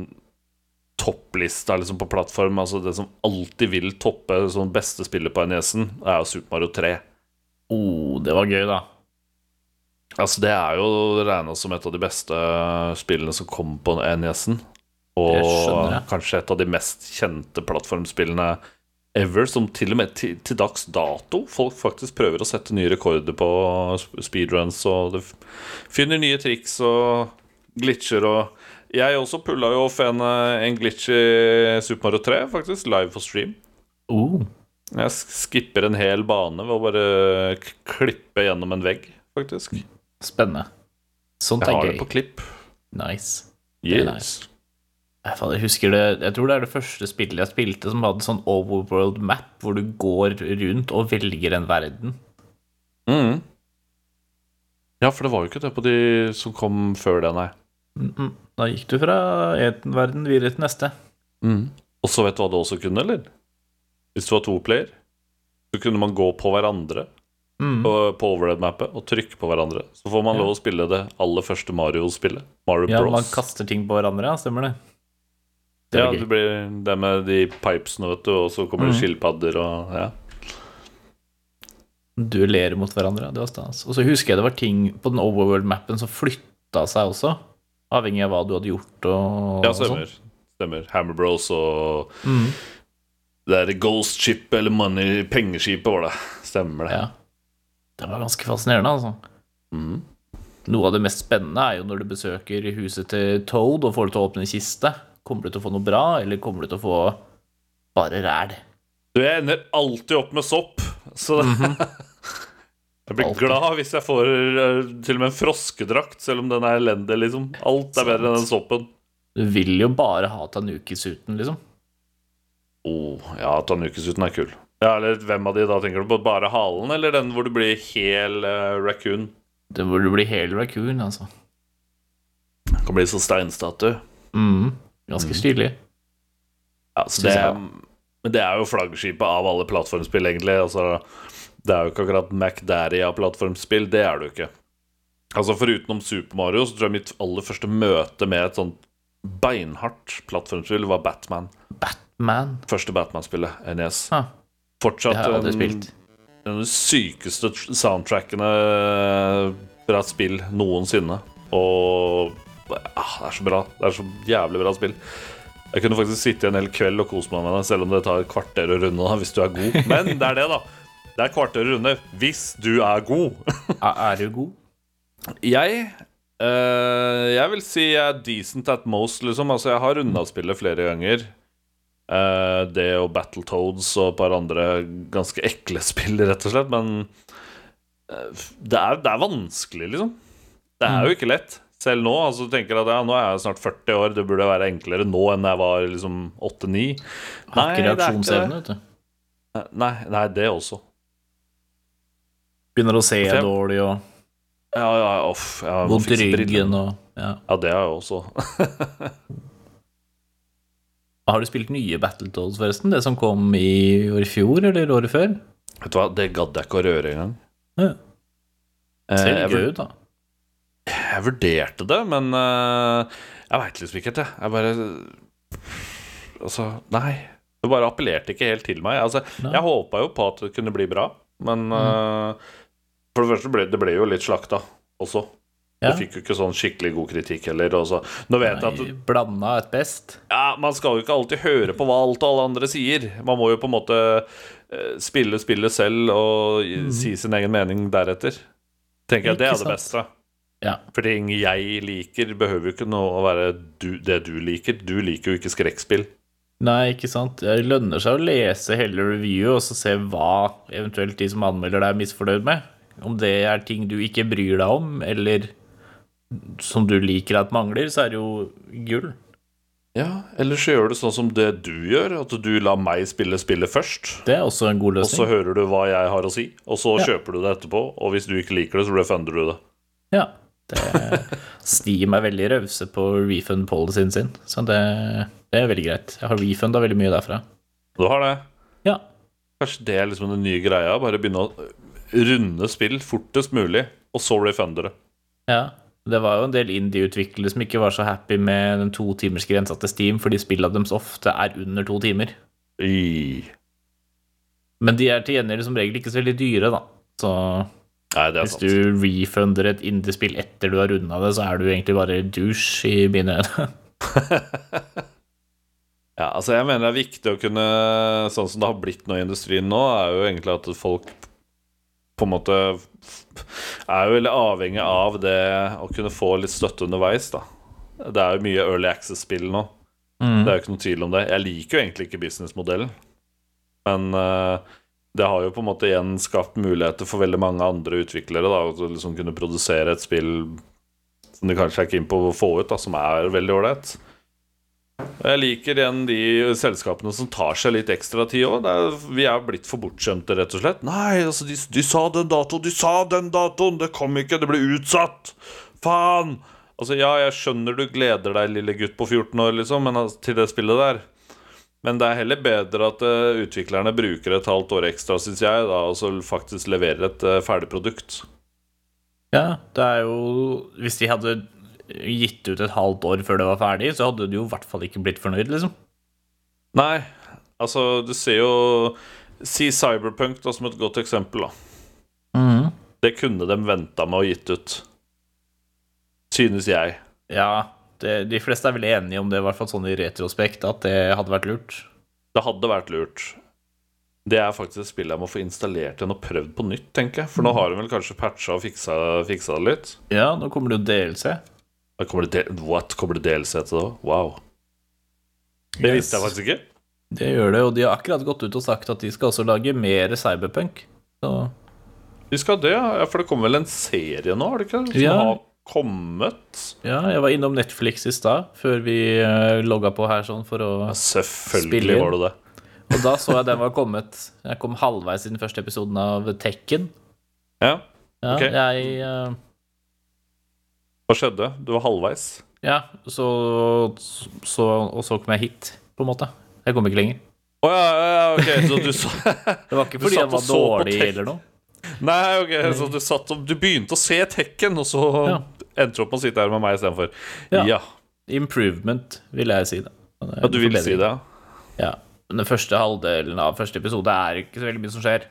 Speaker 1: topplista liksom på plattform. Altså det som alltid vil toppe som beste spillet på NES-en, er jo Super Mario 3.
Speaker 2: Oh, det var gøy, da.
Speaker 1: Altså Det er jo regna som et av de beste eh, spillene som kom på NES-en.
Speaker 2: Det skjønner
Speaker 1: Og
Speaker 2: jeg.
Speaker 1: kanskje et av de mest kjente plattformspillene ever, som til og med til, til dags dato folk faktisk prøver å sette nye rekorder på eh, sp- speedruns, og det f- finner nye triks og glitcher og Jeg også pulla jo off en, eh, en glitch i Super Mario 3, faktisk, live på stream.
Speaker 2: Oh,
Speaker 1: Jeg sk- skipper en hel bane ved å bare k- klippe gjennom en vegg, faktisk. Jeg
Speaker 2: spennende. Sånt
Speaker 1: har
Speaker 2: er
Speaker 1: det
Speaker 2: gøy.
Speaker 1: på klipp.
Speaker 2: Nice. Det er
Speaker 1: Yes.
Speaker 2: Nei, faen, Jeg husker det, jeg tror det er det første spillet jeg spilte som hadde sånn overworld map, hvor du går rundt og velger en verden.
Speaker 1: Mm. Ja, for det var jo ikke det på de som kom før det, nei.
Speaker 2: Mm -mm. Da gikk du fra en verden videre til neste.
Speaker 1: Og så vet du hva du også kunne, eller? Hvis du var to player, så kunne man gå på hverandre
Speaker 2: Mm.
Speaker 1: på, på overhead-mappet og trykke på hverandre. Så får man
Speaker 2: Ja.
Speaker 1: lov å spille det aller første Mario-spillet. Mario
Speaker 2: Ja, man
Speaker 1: Bros.
Speaker 2: kaster ting på hverandre, ja, stemmer det. Det Mm.
Speaker 1: ja,
Speaker 2: var
Speaker 1: det
Speaker 2: gøy.
Speaker 1: blir det med de pipesene, vet du, og så kommer det skilpadder og ja.
Speaker 2: Duellerer mot hverandre, ja, det var stas. Og så husker jeg det var ting på den overworld-mappen som flytta seg også, avhengig av hva du hadde gjort og,
Speaker 1: Ja,
Speaker 2: og sånn. Mm.
Speaker 1: stemmer. stemmer. Hammer Bros og Det er Ghost Ship eller Money Pengeskipet, var det. Stemmer det.
Speaker 2: Ja. Det var ganske fascinerende, altså. Noe av det mest spennende er jo når du besøker huset til Toad og får det til å åpne en kiste. Kommer du til å få noe bra, eller kommer du til å få bare ræl?
Speaker 1: Du, jeg ender alltid opp med sopp, så det Jeg blir
Speaker 2: Alltid.
Speaker 1: glad hvis jeg får eh, til og med en froskedrakt, selv om den er elendig, liksom. Alt er bedre enn den soppen.
Speaker 2: Du vil jo bare ha Tanuki-suiten, liksom.
Speaker 1: Å, Oh, ja, Tanukesuten er kul. Ja, eller hvem av de da? Tenker du på bare halen, eller den hvor du blir hel uh, raccoon?
Speaker 2: Det burde bli hel raccoon, altså.
Speaker 1: Kan bli så steinstatue.
Speaker 2: Mm. Ganske stilig.
Speaker 1: Ja, så
Speaker 2: Synes
Speaker 1: det,
Speaker 2: jeg
Speaker 1: men det er jo flaggskipet av alle plattformspill, egentlig. Altså, det er jo ikke akkurat MacDaddy av plattformspill. Det er det jo ikke. Altså Forutenom Super Mario så tror jeg mitt aller første møte med et sånt beinhardt plattformspill var Batman.
Speaker 2: Batman.
Speaker 1: Første Batman-spillet, NES.
Speaker 2: Ah,
Speaker 1: Fortsatt
Speaker 2: det har jeg aldri
Speaker 1: en-
Speaker 2: spilt.
Speaker 1: en av de sykeste tr- soundtrackene fra et spill noensinne. Og ah, det er så bra. Det er så jævlig bra spill. Jeg kunne faktisk sitte en hel kveld og kose meg med det, selv om det tar et kvarter å runde. da, hvis du er god. Men det er det, da. Det er et kvarter å runde hvis du er god.
Speaker 2: Er er du god?
Speaker 1: Jeg eh, Jeg vil si jeg er decent at most, liksom. Altså, jeg har runda spillet flere ganger. Eh, det og Battletoads og et par andre ganske ekle spill, rett og slett. Men eh, det, er, det er vanskelig, liksom. Det er
Speaker 2: Mm.
Speaker 1: jo ikke lett. Selv nå altså, du tenker jeg at ja, nå er jeg snart 40 år, det burde være enklere nå enn jeg var liksom 8-9. det
Speaker 2: Har ikke
Speaker 1: er ikke det.
Speaker 2: reaksjonsevne, vet du.
Speaker 1: Nei, nei, det også.
Speaker 2: Begynner å se
Speaker 1: For jeg-
Speaker 2: dårlig og
Speaker 1: Ja, ja, uff. Ja, jeg må
Speaker 2: vondt i
Speaker 1: fikse brillene.
Speaker 2: ryggen og ja.
Speaker 1: Ja, det har jeg også.
Speaker 2: Har du spilt nye Battletoads, forresten? Det som kom i år i fjor, eller året før?
Speaker 1: Vet du hva, det gadd jeg ikke å røre engang.
Speaker 2: Ja.
Speaker 1: Eh,
Speaker 2: Ser
Speaker 1: jeg,
Speaker 2: litt gøy ut, da.
Speaker 1: vur- jeg vurderte det, men eh, jeg veit liksom ikke helt, jeg. Jeg bare Altså, nei. Det bare appellerte ikke helt til meg. Altså,
Speaker 2: Nei. Mm.
Speaker 1: jeg håpa jo på at det kunne bli bra, men eh, For det første ble det ble jo litt slakta også.
Speaker 2: Ja.
Speaker 1: Det fikk jo ikke sånn skikkelig god kritikk heller. og så- Nå vet jeg at
Speaker 2: Nei, blanda et best.
Speaker 1: ja, Man skal jo ikke alltid høre på hva alt alle andre sier. Man må jo på en måte eh, spille spillet selv og i- si sin egen mening deretter. Tenker jeg Det
Speaker 2: Mm. Ikke
Speaker 1: er det beste.
Speaker 2: Ja.
Speaker 1: For ting jeg liker, behøver jo ikke noe å være du, det du liker. Du liker jo ikke skrekkspill.
Speaker 2: Nei, ikke sant. Det lønner seg å lese hele reviewet og så se hva eventuelt de som anmelder deg, er misfornøyd med. Om det er ting du ikke bryr deg om, eller som du liker at mangler, så er det jo gull.
Speaker 1: Ja, Eller så gjør du sånn som det du gjør, at du lar meg spille spillet først.
Speaker 2: Det er også en god
Speaker 1: Og så
Speaker 2: løsning.
Speaker 1: hører du hva jeg har å si, og så
Speaker 2: Ja.
Speaker 1: kjøper du det etterpå. Og hvis du ikke liker det, så refunder du det.
Speaker 2: Ja. Det, Steam er veldig rause på refund-policyen sin, så det, det er veldig greit. Jeg har refunda veldig mye derfra.
Speaker 1: Du har det.
Speaker 2: Ja.
Speaker 1: Kanskje det er liksom den nye greia. Bare begynne å runde spill fortest mulig, og så refunde det.
Speaker 2: Ja. Det var jo en del indie-utviklere som ikke var så happy med den to timers grensa til Steam, fordi spilla deres ofte er under to timer.
Speaker 1: I.
Speaker 2: Men de er til gjengjeld som regel ikke så veldig dyre, da. Så
Speaker 1: Nei, det er
Speaker 2: hvis
Speaker 1: sant.
Speaker 2: du refunder et indie-spill etter du har runda det, så er du egentlig bare douche i mine øyne.
Speaker 1: Ja, altså jeg mener det er viktig å kunne Sånn som det har blitt nå i industrien nå Er jo egentlig at folk På en måte Er jo veldig avhengig av det Å kunne få litt støtte underveis da Det er jo mye early access-spill nå Det er jo ikke noe tvil om det Jeg liker jo egentlig ikke businessmodellen Men eh, det har jo på en måte igjen skapt muligheter For veldig mange andre utviklere da Å liksom kunne produsere et spill Som de kanskje er keen på å få ut da Som er veldig ordentlig og Jeg liker igjen de selskapene som tar seg litt ekstra tid òg. Vi er blitt for bortskjemte, rett og slett. Nei, altså, de, de sa den datoen, de sa den datoen! Det kom ikke, det ble utsatt! Faen! Altså, ja, jeg skjønner du gleder deg, lille gutt på 14 år, liksom, men, altså, til det spillet der. Men det er heller bedre at eh, utviklerne bruker et halvt år ekstra, syns jeg, da, og så faktisk leverer et eh, ferdig produkt.
Speaker 2: Ja, det er jo Hvis de hadde gitt ut et halvt år før det var ferdig, så hadde du jo i hvert fall ikke blitt fornøyd, liksom.
Speaker 1: Nei, altså, du ser jo Si Cyberpunk da, som et godt eksempel, da. Det kunne de venta med å gitt ut. Synes jeg.
Speaker 2: Ja, det, de fleste er vel enige om det, i hvert fall sånn i retrospekt, at det hadde vært lurt.
Speaker 1: Det hadde vært lurt. Det er faktisk et spill jeg må få installert igjen og prøvd på nytt, tenker jeg. For nå har de vel kanskje patcha og fiksa, fiksa det litt.
Speaker 2: Ja, nå kommer det jo DLC.
Speaker 1: Da Kommer det, del- what? Kommer det DLC til det òg? Wow. Det visste jeg faktisk ikke.
Speaker 2: Det gjør det, og de har akkurat gått ut og sagt at de skal også lage mer cyberpunk. Så
Speaker 1: Vi skal det, ja. For det kommer vel en serie nå, har det ikke? det? Som
Speaker 2: Ja.
Speaker 1: har kommet?
Speaker 2: ja, jeg var innom Netflix i stad, før vi uh, logga på her sånn for å
Speaker 1: Selvfølgelig
Speaker 2: Spiller.
Speaker 1: var det det.
Speaker 2: Og da så jeg den var kommet. Jeg kom halvveis i den første episoden av Tekken.
Speaker 1: Ja.
Speaker 2: Ja,
Speaker 1: Ok.
Speaker 2: jeg eh,
Speaker 1: Hva skjedde? Du var halvveis.
Speaker 2: Ja, så, så Og så kom jeg hit, på en måte. Jeg kom ikke lenger.
Speaker 1: Å ja, ja, ja, ok. Så du så
Speaker 2: Det var ikke
Speaker 1: Du
Speaker 2: fordi
Speaker 1: satt
Speaker 2: jeg
Speaker 1: og
Speaker 2: var
Speaker 1: så på
Speaker 2: dårlig
Speaker 1: Tekken.
Speaker 2: eller noe.
Speaker 1: Nei, ok, så du, satt og, du begynte å se tekken, og så
Speaker 2: Ja.
Speaker 1: endte du opp med å sitte her med meg istedenfor.
Speaker 2: Ja.
Speaker 1: Ja.
Speaker 2: Improvement, vil jeg si det. Det er
Speaker 1: ja, du
Speaker 2: en
Speaker 1: vil si
Speaker 2: forbedring.
Speaker 1: det?
Speaker 2: Ja. Men den første halvdelen av første episode er ikke så veldig mye som skjer.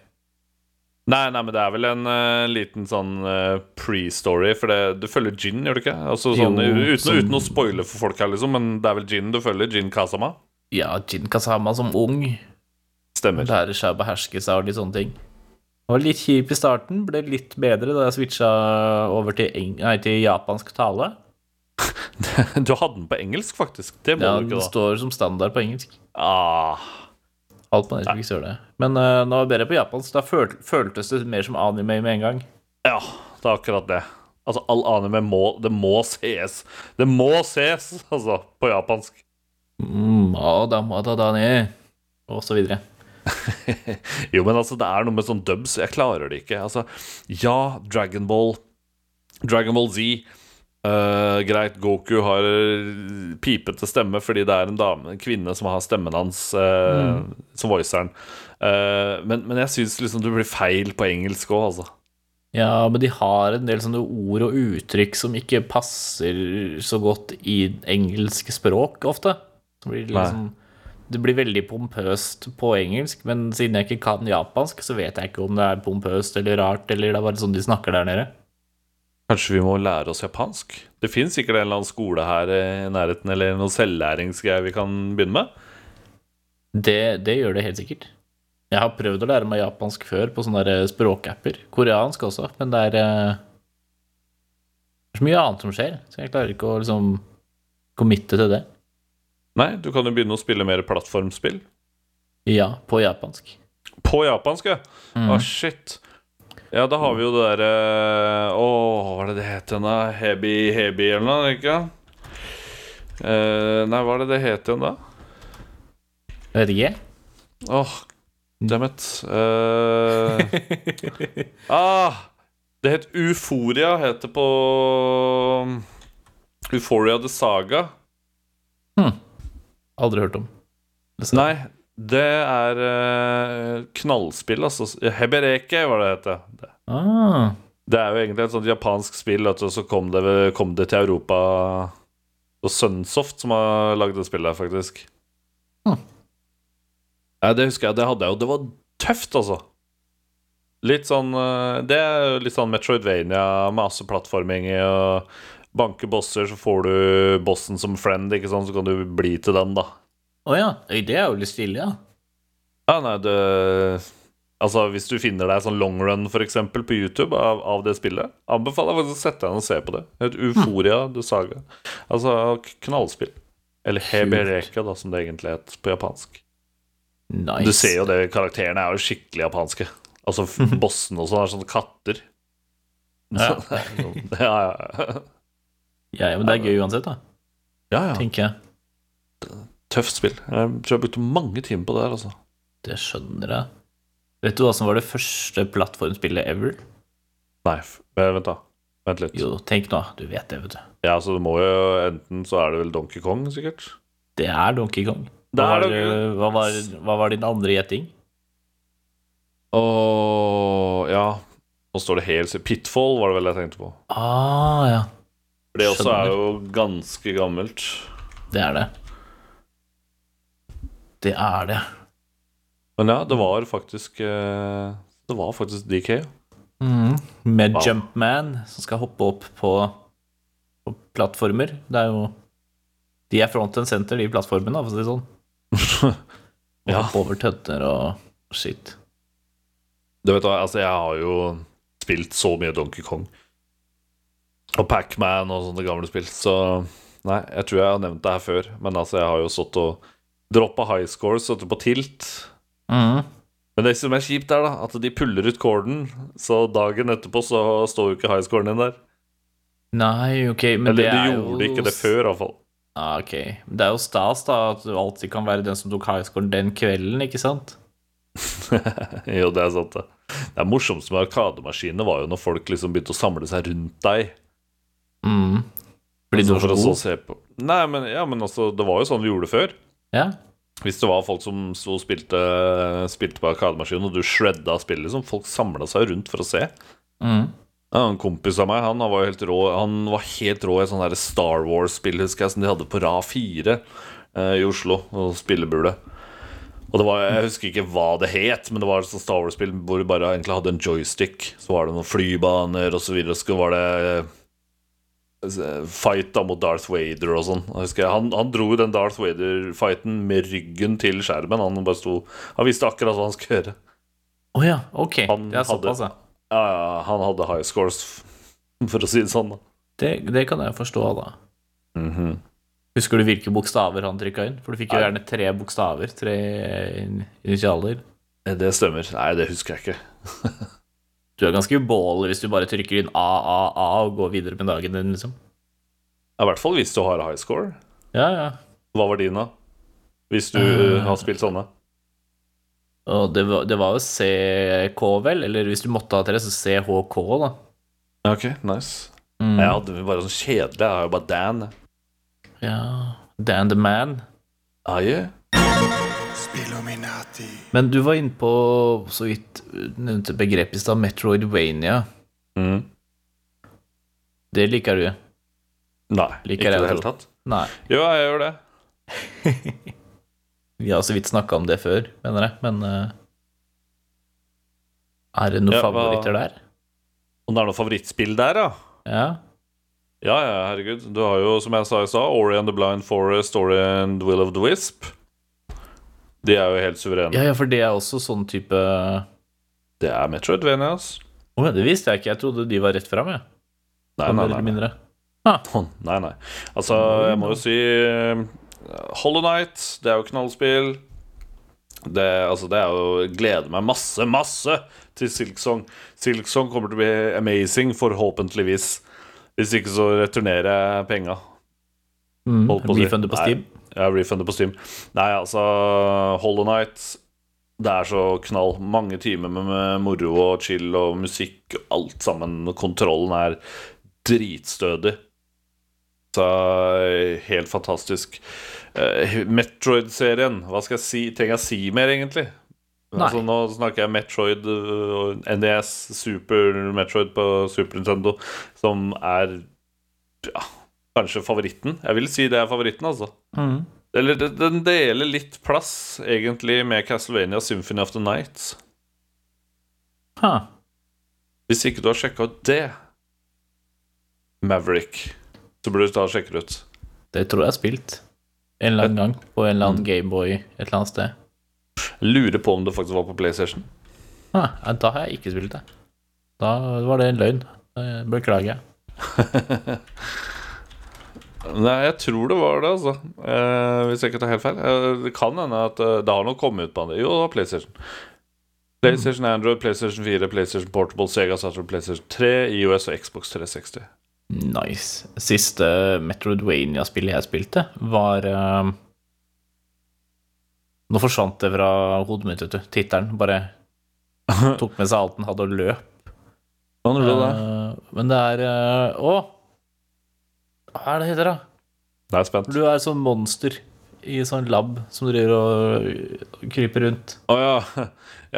Speaker 1: Nei, nei, men det er vel en eh, liten sånn eh, pre-story, for det, du følger Gin, gjør du ikke? Altså, sånn,
Speaker 2: Jo,
Speaker 1: uten,
Speaker 2: som-
Speaker 1: uten å spoile for folk her, liksom, men det er vel Gin du følger? Gin Kazama?
Speaker 2: Ja, Jin Kazama som ung
Speaker 1: Stemmer.
Speaker 2: lærer seg å beherske seg og litt sånne ting. Det var litt kjip i starten, ble litt bedre da jeg switcha over til, eng nei, til japansk tale.
Speaker 1: Du hadde den på engelsk, faktisk. Det må
Speaker 2: Ja,
Speaker 1: du
Speaker 2: den
Speaker 1: ikke, da.
Speaker 2: står som standard på engelsk.
Speaker 1: Ah,
Speaker 2: Alt på Netflix gjør det. Men uh, nå er det bedre på japansk. Da føl føltes det mer som anime med en gang.
Speaker 1: ja, det er akkurat det. Altså, all anime må Det må sees. Det må ses, altså, på japansk.
Speaker 2: Mm, ah, da, ma, da, da, ne. Og så videre.
Speaker 1: Jo, men altså, det er noe med sånn dubs. Jeg klarer det ikke. Altså, ja, Dragon Ball Dragon Ball Z eh, Greit, Goku har pipete stemme fordi det er en dame, en kvinne som har stemmen hans eh, som voiceren. Eh, men, men jeg syns liksom det blir feil på engelsk òg, altså.
Speaker 2: Ja, men de har en del sånne ord og uttrykk som ikke passer så godt i engelsk språk ofte. Så blir det,
Speaker 1: Nei.
Speaker 2: liksom, det blir veldig pompøst på engelsk, men siden jeg ikke kan japansk, så vet jeg ikke om det er pompøst eller rart, eller det er bare sånn de snakker der nede.
Speaker 1: Kanskje vi må lære oss japansk? Det fins sikkert en eller annen skole her eh, i nærheten, eller noe selvlæringsgreier vi kan begynne med.
Speaker 2: Det, det gjør det helt sikkert. Jeg har prøvd å lære meg japansk før på sånne der eh, språkapper. Koreansk også, men det er eh, det er så mye annet som skjer, så jeg klarer ikke å liksom committe til det.
Speaker 1: Nei, du kan jo begynne å spille mer plattformspill.
Speaker 2: Ja, på japansk.
Speaker 1: På japansk, ja? Å, shit. Ja, da har vi jo det eh, derre Å, hva var det det het igjen, da? Hebi Hebi eller noe, ikke sant? Eh, nei, hva er det det het igjen da?
Speaker 2: Jeg vet ikke.
Speaker 1: Åh, dammit. Eh, ah, det het Uforia, het det på Uforia the Saga.
Speaker 2: Aldri hørt om. Dessverre.
Speaker 1: Nei, det er eh, knallspill, altså. Hebereke, var det det het. ja.
Speaker 2: Ah,
Speaker 1: Det er jo egentlig et sånt japansk spill, vet du, og så kom det, kom det til Europa Og Sunsoft som har lagd det spillet, her, faktisk.
Speaker 2: Hm.
Speaker 1: Ja, det husker jeg. Det hadde jeg jo. Det var tøft, altså. Litt sånn eh, Det er jo litt sånn Metroidvania, masse plattforming i og banke bosser, så får du bossen som friend, ikke sant, så kan du bli til den, da.
Speaker 2: Å ja. Oi, det er jo litt stilig, ja.
Speaker 1: Ja, nei, det Altså, hvis du finner deg sånn long run for eksempel, på YouTube av, av det spillet, anbefaler jeg faktisk å sette deg ned og se på det. Et Euforia
Speaker 2: Hm.
Speaker 1: du saga. Altså k- knallspill. Eller Hebereka, da, som det egentlig het på japansk.
Speaker 2: Nice.
Speaker 1: Du ser jo det, karakterene er jo skikkelig japanske. Altså, f- bossene og sånn er sånne katter. sånn,
Speaker 2: Ja.
Speaker 1: ja, ja.
Speaker 2: Ja, ja, men det er gøy uansett, da.
Speaker 1: ja, ja.
Speaker 2: Tenker jeg.
Speaker 1: Tøft spill. Jeg tror jeg brukte mange timer på det her, altså.
Speaker 2: Det skjønner jeg. Vet du hva som var det første plattformspillet ever?
Speaker 1: Nei, f- vent, da. Vent litt.
Speaker 2: Jo, tenk nå. Du vet det, vet du.
Speaker 1: Ja, så det må jo Enten så er det vel Donkey Kong, sikkert.
Speaker 2: Det er Donkey Kong.
Speaker 1: Det
Speaker 2: Hva
Speaker 1: er
Speaker 2: var,
Speaker 1: Donkey Kong.
Speaker 2: hva var, hva var din andre gjetting?
Speaker 1: Åh, ja Nå står det helt stille. Pitfall var det vel jeg tenkte på
Speaker 2: Ah, ja.
Speaker 1: For det også
Speaker 2: Skjønner.
Speaker 1: er jo ganske gammelt
Speaker 2: Det er det. Det er det.
Speaker 1: Men ja, det var faktisk eh, Det var faktisk DK ja.
Speaker 2: Med
Speaker 1: Wow.
Speaker 2: Jumpman, som skal hoppe opp på, på plattformer. Det er jo De er front and center, de plattformene, for å si det sånn. Og
Speaker 1: Ja.
Speaker 2: Hoppe over tønner og shit.
Speaker 1: Du vet hva, altså jeg har jo Spilt så mye Donkey Kong Og Pac-Man og sånne gamle spill Så nei, jeg tror jeg har nevnt det her før Men altså jeg har jo stått og Droppet high scores, stått på tilt Mhm. Men det som er kjipt er da At de puller ut korden Så dagen etterpå så står jo ikke high scoren din der
Speaker 2: Nei, ok, men
Speaker 1: Eller
Speaker 2: det
Speaker 1: du
Speaker 2: er
Speaker 1: gjorde
Speaker 2: jo
Speaker 1: ikke det før, iallfall.
Speaker 2: Ah, ok. Men Det er jo stas, da, at du alltid kan være den som tok highscoren den kvelden, ikke sant?
Speaker 1: jo, det er sant, det. Det morsomste med arkademaskinene var jo når folk liksom begynte å samle seg rundt deg.
Speaker 2: Mm. Fordi du
Speaker 1: Så
Speaker 2: var så
Speaker 1: for å så
Speaker 2: god?
Speaker 1: se på. Nei, men, ja, men altså, det var jo sånn vi gjorde det før.
Speaker 2: Ja.
Speaker 1: Hvis det var folk som sto og spilte, spilte på arkademaskinen, og du shredda spillet, liksom, folk samla seg rundt for å se.
Speaker 2: Mm.
Speaker 1: Ja, En kompis av meg han var jo helt rå Han var helt rå i sånn der Star Wars-spill, husker jeg, som de hadde på Ra 4 eh, i Oslo. Og spillebule. Og det var, Jeg husker ikke hva det het, men det var et sånt Star Wars-spill hvor du bare egentlig hadde en joystick. Så var det noen flybaner, og så videre. Og så var det eh, fight da mot Darth Vader og sånn. Og jeg husker jeg, Han, han dro jo den Darth Vader-fighten med ryggen til skjermen. Han bare sto Han visste akkurat hva han skulle gjøre.
Speaker 2: Å ja, ok.
Speaker 1: Han
Speaker 2: det er
Speaker 1: hadde-
Speaker 2: såpass, ja.
Speaker 1: Ja, ja, han hadde high scores, for å si det sånn. da
Speaker 2: Det, det kan jeg forstå, da. Husker du hvilke bokstaver han trykka inn? For du fikk jo
Speaker 1: Nei.
Speaker 2: gjerne tre bokstaver. Tre in- initialer.
Speaker 1: Eh, Det stemmer. Nei, det husker jeg ikke.
Speaker 2: Du er ganske ubålig hvis du bare trykker inn AAA og går videre med dagen din, liksom.
Speaker 1: I hvert fall hvis du har high score.
Speaker 2: Ja, ja.
Speaker 1: Hva var din, da? Hvis du eh, har spilt sånne?
Speaker 2: Og det var, det var jo CK, vel? Eller hvis du måtte ha tre, så CHK, da.
Speaker 1: Ok, nice.
Speaker 2: Mm.
Speaker 1: Jeg hadde jo bare sånn kjedelig. Jeg har jo bare Dan. jeg.
Speaker 2: Ja Dan the Man.
Speaker 1: Ah, yeah.
Speaker 4: Spilluminati.
Speaker 2: Men du var inne på, så vidt nevnte begrepet i stad, Metroidvania.
Speaker 1: Mhm.
Speaker 2: Det liker du?
Speaker 1: Nei,
Speaker 2: Liker
Speaker 1: ikke i
Speaker 2: jeg
Speaker 1: det
Speaker 2: å
Speaker 1: hele
Speaker 2: tro.
Speaker 1: tatt.
Speaker 2: Nei.
Speaker 1: Jo, jeg gjør det.
Speaker 2: Vi har så vidt snakka om det før, mener jeg, men eh, Er det noen
Speaker 1: Ja, hva-
Speaker 2: favoritter der?
Speaker 1: Om det er noe favorittspill der, ja?
Speaker 2: Ja.
Speaker 1: Ja, ja, herregud. Du har jo, som jeg sa i stad, Ori and the Blind Forest, Ori and Will of the Wisp. De er jo helt suverene.
Speaker 2: ja, ja, for det er også sånn type Å,
Speaker 1: Det er Metroidvania, ass.
Speaker 2: ja, det visste jeg ikke. Jeg trodde de var rett fram, jeg.
Speaker 1: Nei,
Speaker 2: Mer
Speaker 1: nei,
Speaker 2: eller
Speaker 1: nei.
Speaker 2: mindre.
Speaker 1: Hånd. Nei, nei. Altså, jeg må jo si eh, Hollow Knight, det er jo knallspill. Det, altså, det er jo Gleder meg masse, masse til Silksong. Silksong kommer til å bli amazing, forhåpentligvis. Hvis ikke så returnerer jeg penga. Holdt å si.
Speaker 2: Mm. Refundet på
Speaker 1: Nei,
Speaker 2: Steam?
Speaker 1: Ja, refundet på Steam. Nei, altså Hollow Night Det er så knall. Mange timer med, med moro og chill og musikk. Alt sammen. Kontrollen er dritstødig. Så eh, helt fantastisk. Eh, Metroid-serien, hva skal jeg si? Trenger jeg si mer, egentlig?
Speaker 2: Nei.
Speaker 1: Altså, nå snakker jeg Metroid, eh, NES, Super Metroid på Super Nintendo, som er ja, kanskje favoritten. Jeg vil si det er favoritten, altså.
Speaker 2: Mhm.
Speaker 1: Eller det- den deler litt plass, egentlig, med Castlevania Symphony of the Night.
Speaker 2: Ha.
Speaker 1: Hvis ikke du har sjekka ut det, Maverick, så burde du ta og sjekke det ut.
Speaker 2: Det tror jeg er spilt. En eller annen gang på en
Speaker 1: Mm.
Speaker 2: eller annen Gameboy et eller annet sted.
Speaker 1: Lurer på om det faktisk var på PlayStation.
Speaker 2: Ah, ja, da har jeg ikke spilt det. Da var det en løgn. Eh, Beklager.
Speaker 1: Nei, jeg tror det var det, altså. Eh, hvis jeg ikke tar helt feil. Eh, det kan hende at eh, det har nok kommet ut på andre. Jo, det var PlayStation. PlayStation Android, PlayStation 4, PlayStation Portable, Sega Saturn, PlayStation 3, IOS og Xbox 360.
Speaker 2: Nice. Siste Metroidvania-spillet jeg spilte, var eh, Nå forsvant det fra hodet mitt, vet du. Tittelen bare tok med seg alt den hadde og løp.
Speaker 1: Hva tror Sånn du det?
Speaker 2: Eh, men det er eh, Å! Hva er det det heter, da?
Speaker 1: Nei, jeg er spent.
Speaker 2: Hvor du er sånn monster i sånn lab som driver og eh, kryper rundt.
Speaker 1: Å ja.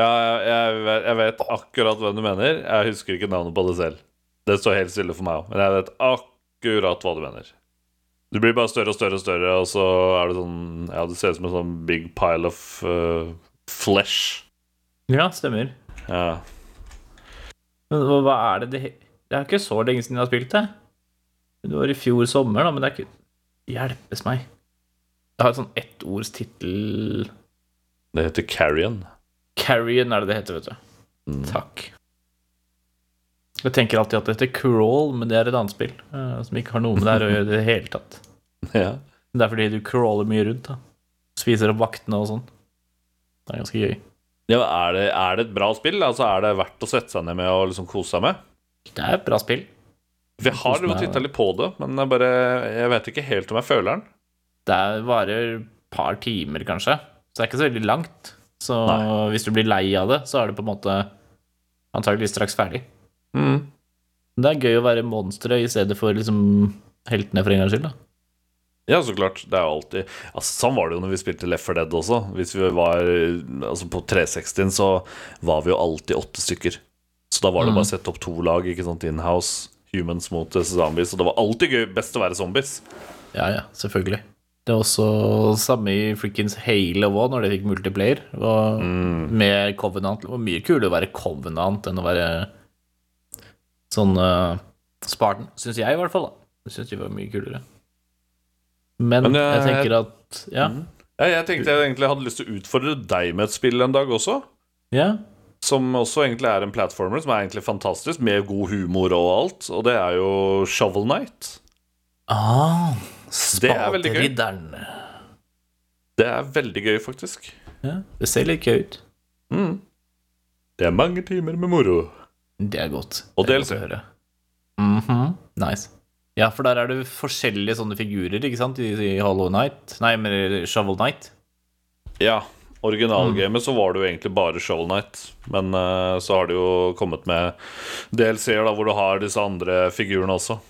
Speaker 1: ja jeg, vet- jeg vet akkurat hvem du mener. Jeg husker ikke navnet på det selv. Det står helt stille for meg òg, men jeg vet akkurat hva du mener. Du blir bare større og større og større, og så er det sånn Ja, det ser ut som en sånn big pile of eh, flesh.
Speaker 2: Ja, stemmer.
Speaker 1: Ja.
Speaker 2: Men hva, hva er det det he- Det er jo ikke så lenge siden jeg har spilt det. Det var i fjor sommer, da, men det er ikke Hjelpes meg. Det har et sånn ettords tittel
Speaker 1: Det heter Carrion.
Speaker 2: Carrion er det det heter, vet du. Takk. Jeg tenker alltid at det heter Crawl, men det er et annet spill eh, som ikke har noe med det her å gjøre i det hele tatt.
Speaker 1: Ja.
Speaker 2: Men Det er fordi du crawler mye rundt, da. Spiser opp vaktene og sånn. Det er ganske gøy.
Speaker 1: Ja, men er, det, er det et bra spill? Altså, Er det verdt å sette seg ned med og liksom kose seg med?
Speaker 2: Det er et bra spill.
Speaker 1: Vi har jo
Speaker 2: meg, ja.
Speaker 1: titta litt på det, men jeg bare Jeg vet ikke helt om jeg føler den.
Speaker 2: Det er- varer et par timer, kanskje. Så det er ikke så veldig langt. Så
Speaker 1: Nei.
Speaker 2: hvis du blir lei av det, så er det på en måte antageligvis straks ferdig. Men det er gøy å være monstre i stedet for liksom heltene for en gangs skyld, da.
Speaker 1: Ja, så klart. Det er jo alltid altså, Sånn var det jo når vi spilte Left 4 Dead også. Hvis vi var altså, På 360-en så var vi jo alltid åtte stykker. Så da var
Speaker 2: Mm.
Speaker 1: det bare å sette opp to lag Ikke sant, inhouse. Humans mot zombies. Og det var alltid gøy, best å være zombies.
Speaker 2: Ja, ja, selvfølgelig. Det er også samme i Frickens Halo òg, når de fikk multiplayer. Og
Speaker 1: Mm.
Speaker 2: Med Covenant. Det var mye kulere å være Covenant enn å være sånn eh, Spartan. Syns jeg, i hvert fall. da Syns de var mye kulere. Men,
Speaker 1: Men, eh, Mm.
Speaker 2: jeg tenker at Ja.
Speaker 1: Ja, jeg tenkte jeg egentlig hadde lyst til å utfordre deg med et spill en dag også.
Speaker 2: ja.
Speaker 1: Som også egentlig er en platformer som er egentlig fantastisk, med god humor og alt. Og det er jo Shovel Night.
Speaker 2: Ah,
Speaker 1: Det er veldig gøy.
Speaker 2: Spateridderen.
Speaker 1: Det er veldig gøy, faktisk.
Speaker 2: Ja, det ser litt gøy ut.
Speaker 1: Mm. Det er mange timer med moro.
Speaker 2: Det er godt.
Speaker 1: Og
Speaker 2: Det er godt
Speaker 1: DLC.
Speaker 2: å høre. Mhm, Nice. Ja, for der er det forskjellige sånne figurer, ikke sant? I, i Hollow Knight Nei, men i Shovel Knight.
Speaker 1: Ja, originalgamet så var det jo egentlig bare Shovel Knight. Men eh, så har det jo kommet med DLC-er da, hvor du har disse andre figurene også.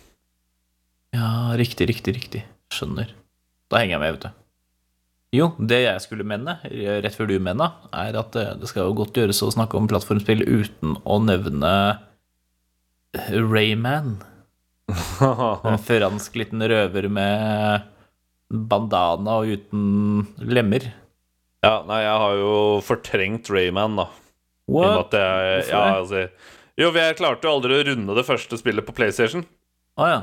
Speaker 2: Ja, riktig, riktig, riktig. Skjønner. Da henger jeg med, vet du. Jo, det jeg skulle mene, rett før du mena, er at eh, det skal jo godt gjøres å snakke om plattformspill uten å nevne eh, Rayman. En fransk liten røver med bandana og uten lemmer.
Speaker 1: ja, nei, jeg har jo fortrengt Rayman, da. I og med
Speaker 2: What?
Speaker 1: at jeg,
Speaker 2: Hvorfor
Speaker 1: ja, altså,
Speaker 2: det?
Speaker 1: jo, for jeg klarte jo aldri å runde det første spillet på PlayStation.
Speaker 2: Å ja.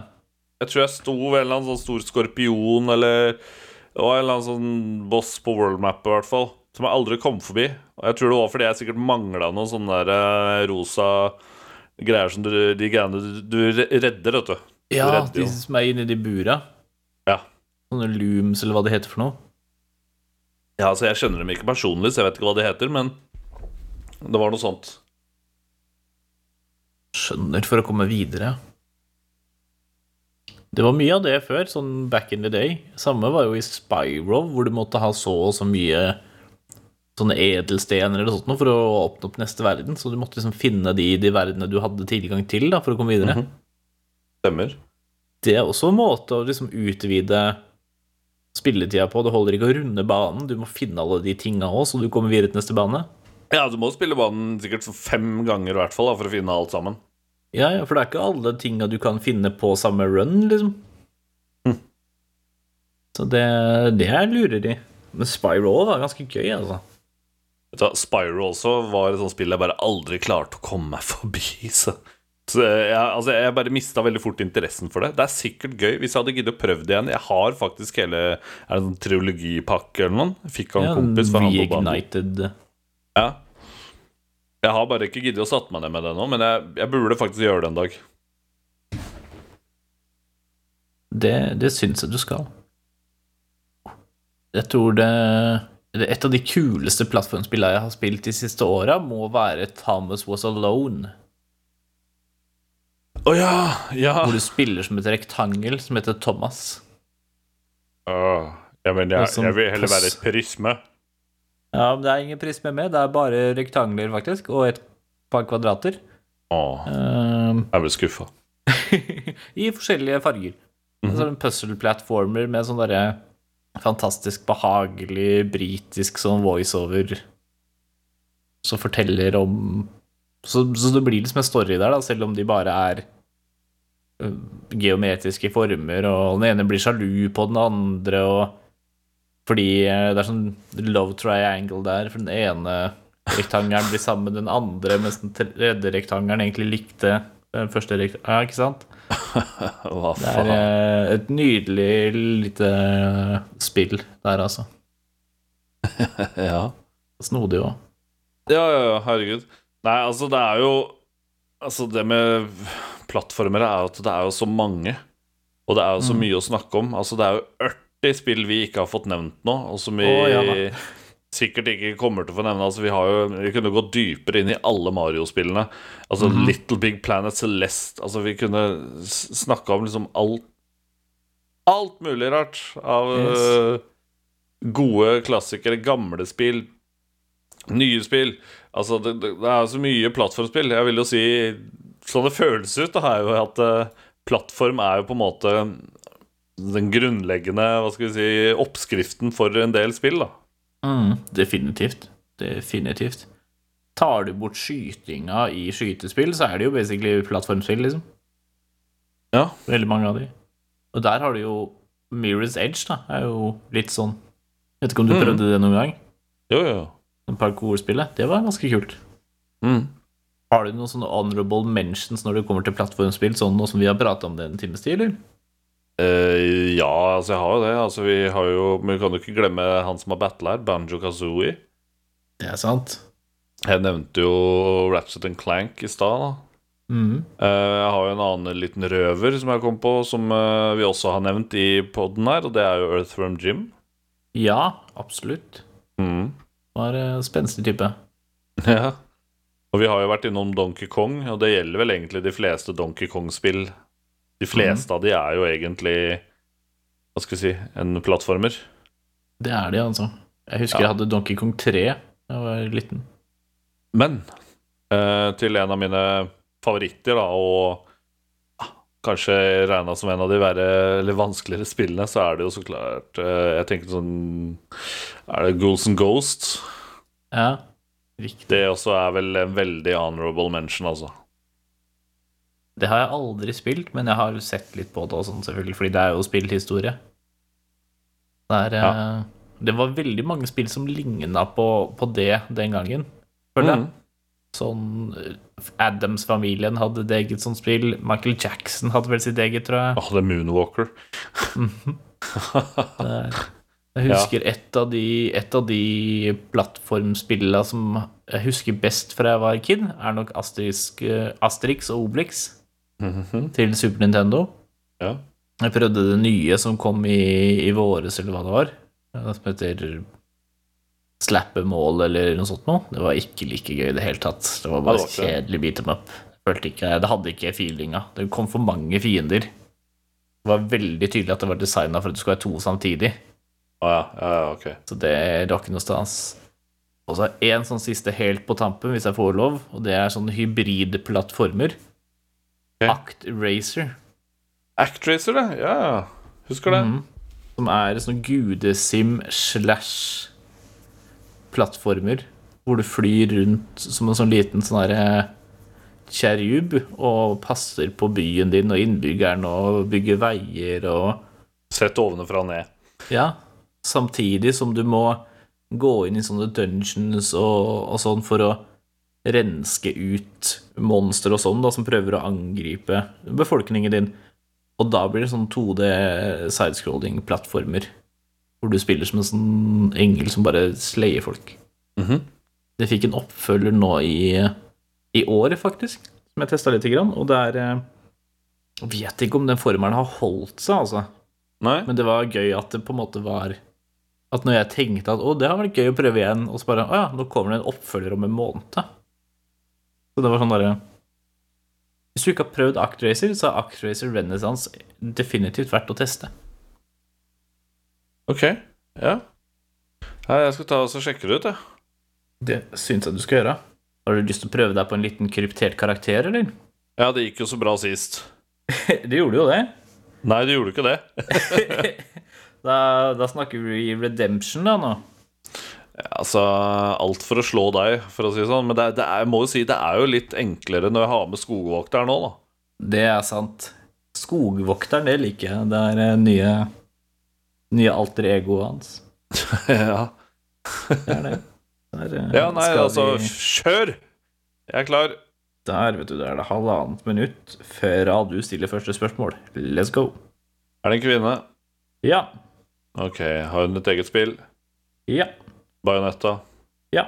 Speaker 1: Jeg tror jeg sto ved en eller annen sånn stor skorpion eller Det var en eller annen sånn boss på worldmap i hvert fall. Som jeg aldri kom forbi. Og jeg tror det var fordi jeg sikkert mangla noen sånne der eh, rosa greier som du De greiene du, du redder, vet du.
Speaker 2: Ja,
Speaker 1: Du redder
Speaker 2: de
Speaker 1: jo.
Speaker 2: som er inni de bura.
Speaker 1: Ja.
Speaker 2: Sånne looms, eller hva det heter for noe.
Speaker 1: ja, altså jeg kjenner dem ikke personlig, så jeg vet ikke hva de heter, men det var noe sånt.
Speaker 2: Skjønner, for å komme videre. Det var mye av det før, sånn back in the day. Samme var jo i Spyro, hvor du måtte ha så og så mye sånne edelstener eller sånt noe for å åpne opp neste verden. Så du måtte liksom finne de i de verdenene du hadde tilgang til da, for å komme videre.
Speaker 1: Stemmer.
Speaker 2: Det er også en måte å liksom utvide spilletida på. Det holder ikke å runde banen, du må finne alle de tinga òg, så du kommer videre til neste bane.
Speaker 1: Ja, du må spille banen sikkert fem ganger i hvert fall da, for å finne alt sammen.
Speaker 2: Ja, ja, for det er ikke alle tinga du kan finne på samme run, liksom. Så det, det er lureri. Men Spyro var ganske gøy, altså.
Speaker 1: Vet du hva, Spyro også var et sånt spill jeg bare aldri klarte å komme meg forbi. Så. Så jeg, altså jeg bare mista veldig fort interessen for det. Det er sikkert gøy hvis jeg hadde giddet å prøve det igjen. Jeg har faktisk hele Er det en triologipakke eller noe? Jeg Fikk av en
Speaker 2: Ja,
Speaker 1: kompis. for han bodde på andre-
Speaker 2: Reignited.
Speaker 1: Ja. Jeg har bare ikke giddet å satt meg ned med det nå, men jeg, jeg burde faktisk gjøre det en dag.
Speaker 2: Det, det syns jeg du skal. Jeg tror det det- Et av de kuleste plattformspillene jeg har spilt de siste åra, må være Thomas Was Alone.
Speaker 1: Å ja! Ja!
Speaker 2: Hvor du spiller som et rektangel som heter Thomas.
Speaker 1: Åh, ja men
Speaker 2: Og sånn
Speaker 1: jeg,
Speaker 2: som
Speaker 1: jeg vil heller være
Speaker 2: pass-
Speaker 1: et prisme.
Speaker 2: Ja, men Det er ingen prisme med, det er bare rektangler, faktisk, og et par kvadrater.
Speaker 1: Åh,
Speaker 2: Ehm,
Speaker 1: jeg ble skuffa.
Speaker 2: I forskjellige farger. Altså en puzzle platformer med sånn derre fantastisk behagelig britisk sånn voiceover som forteller om så, så det blir liksom en story der, da, selv om de bare er øh, geometriske former, og den ene blir sjalu på den andre, og fordi eh, det er sånn love triangle der, for den ene rektangelen blir sammen med den andre, mens den tredje rektangelen egentlig likte den første rektangelen. Ja, ikke sant?
Speaker 1: Hva
Speaker 2: Det er
Speaker 1: faen?
Speaker 2: eh, et nydelig lite eh, spill der, altså.
Speaker 1: Ja.
Speaker 2: Snodig òg.
Speaker 1: Ja, ja, ja, herregud. Nei, altså, det er jo Altså, det med plattformer er jo at det er jo så mange. Og det er
Speaker 2: Mm.
Speaker 1: jo så mye å snakke om. Altså, det er jo 80 spill vi ikke har fått nevnt nå, og som vi
Speaker 2: Å, ja da.
Speaker 1: sikkert ikke kommer til å få nevne. Altså, vi har jo Vi kunne gått dypere inn i alle Mario-spillene. Altså Little Big Planet Celeste Altså, vi kunne s- snakka om liksom alt Alt mulig rart av
Speaker 2: Yes.
Speaker 1: øh, gode klassikere, gamle spill, nye spill. Altså, det, det det er så mye plattformspill. Jeg vil jo si Sånn det føles ut, da, er jo at eh, plattform er jo på en måte den grunnleggende hva skal vi si, oppskriften for en del spill, da.
Speaker 2: Mm, definitivt. Definitivt. Tar du bort skytinga i skytespill, så er det jo basically plattformspill, liksom.
Speaker 1: Ja.
Speaker 2: Veldig mange av de. Og der har du jo Mirror's Edge, da. Er jo litt sånn Vet ikke om du
Speaker 1: Mm.
Speaker 2: prøvde det noen gang?
Speaker 1: Jo, jo.
Speaker 2: Sånn Parkourspillet. Det var ganske kult.
Speaker 1: Mm.
Speaker 2: Har du noen sånne honorable mentions når det kommer til plattformspill, sånn nå som vi har prata om det en times tid, eller?
Speaker 1: Eh, ja, altså jeg har jo det. Altså, vi har jo, men vi kan jo ikke glemme han som har battla her, Banjo Kazooie.
Speaker 2: Det er sant.
Speaker 1: Jeg nevnte jo Ratchet and Clank i stad. da
Speaker 2: Mm.
Speaker 1: Eh, Jeg har jo en annen liten røver som jeg kom på, som eh, vi også har nevnt i poden her, og det er jo Earthworm Jim.
Speaker 2: Ja, absolutt.
Speaker 1: Mm.
Speaker 2: Var eh, spenstig type.
Speaker 1: Ja. Og vi har jo vært innom Donkey Kong, og det gjelder vel egentlig de fleste Donkey Kong-spill. De fleste av de er jo egentlig Hva skal vi si en plattformer.
Speaker 2: Det er de, altså. Jeg husker
Speaker 1: Ja.
Speaker 2: jeg hadde Donkey Kong 3 da jeg var liten.
Speaker 1: Men eh, til en av mine favoritter, da, og ah, kanskje regna som en av de verre eller vanskeligere spillene, så er det jo så klart eh, Jeg tenker sånn Er det Ghouls and Ghosts?
Speaker 2: Ja, riktig.
Speaker 1: Det også er vel en veldig honorable mention, altså.
Speaker 2: Det har jeg aldri spilt, men jeg har sett litt på det og sånn, selvfølgelig, fordi det er jo spilt historie. Det er eh, Det var veldig mange spill som ligna på, på det den gangen, føler jeg.
Speaker 1: Mhm.
Speaker 2: Sånn eh, Adams-familien hadde et eget sånt spill. Michael Jackson hadde vel sitt eget, tror jeg.
Speaker 1: Åh, Ah, det er Moonwalker.
Speaker 2: Der. Jeg husker et av de, et av de plattformspillene som jeg husker best fra jeg var kid, er nok Asterix, eh, Asterix og Obelix til Super Nintendo.
Speaker 1: Ja.
Speaker 2: Jeg prøvde det nye som kom i, i våres, eller hva det var, eh, som heter Slappemål eller noe sånt noe. Det var ikke like gøy i det hele tatt. Det var
Speaker 1: Ja, det
Speaker 2: bare
Speaker 1: var ikke
Speaker 2: kjedelig beat em up. Følte ikke, det hadde ikke feelinga. Det kom for mange fiender. Det var veldig tydelig at det var designa for at det skulle være to samtidig.
Speaker 1: Å Ah, ja, ja, ja, ok.
Speaker 2: Så det rakk noe stans. Og så én sånn siste helt på tampen, hvis jeg får lov, og det er sånne hybridplattformer.
Speaker 1: Ok.
Speaker 2: Act Racer,
Speaker 1: Actracer, det. Ja, ja. Husker det.
Speaker 2: som er sånn gudesim slash plattformer, hvor du flyr rundt som en sånn liten sånn herre kjerub og passer på byen din og innbyggeren og bygger veier og
Speaker 1: Sett ovenfra og ned.
Speaker 2: Ja, samtidig som du må gå inn i sånne dungeons og, og sånn for å renske ut monstre og sånn, da, som prøver å angripe befolkningen din. Og da blir det sånn 2D sidescrolling-plattformer, hvor du spiller som en sånn engel som bare slayer folk.
Speaker 1: Mhm.
Speaker 2: Det fikk en oppfølger nå i, i år, faktisk, som jeg testa lite grann, og det er eh, Jeg vet ikke om den formelen har holdt seg, altså.
Speaker 1: Nei?
Speaker 2: Men det var gøy at det på en måte var At når jeg tenkte at å, det har vært gøy å prøve igjen, og så bare å ja, nå kommer det en oppfølger om en måned. Så det var sånn derre Hvis du ikke har prøvd Actracer, så har Actracer Renaissance definitivt verdt å teste.
Speaker 1: Ok. Ja. Nei, jeg skal ta og så sjekke det ut, jeg.
Speaker 2: Det syns jeg du skal gjøre. Har du lyst til å prøve deg på en liten kryptert karakter, eller?
Speaker 1: Ja, det gikk jo så bra sist.
Speaker 2: det gjorde jo det.
Speaker 1: Nei, det gjorde ikke det.
Speaker 2: Da, da snakker vi redemption, da, nå.
Speaker 1: Altså, alt for å slå deg, for å si det sånn. Men det, det er, jeg må jo si, det er jo litt enklere når jeg har med skogvokter nå, da.
Speaker 2: Det er sant. Skogvokteren, det liker jeg. Det er eh, nye, nye alter egoet hans.
Speaker 1: ja.
Speaker 2: Det er det. Det er, eh,
Speaker 1: ja, nei,
Speaker 2: skal
Speaker 1: altså,
Speaker 2: vi-
Speaker 1: kjør! Jeg er klar.
Speaker 2: Der, vet du, det er det halvannet minutt før du stiller første spørsmål. Let's go.
Speaker 1: Er det en kvinne?
Speaker 2: Ja.
Speaker 1: Ok, har hun et eget spill?
Speaker 2: Ja.
Speaker 1: Bajonetta.
Speaker 2: Ja.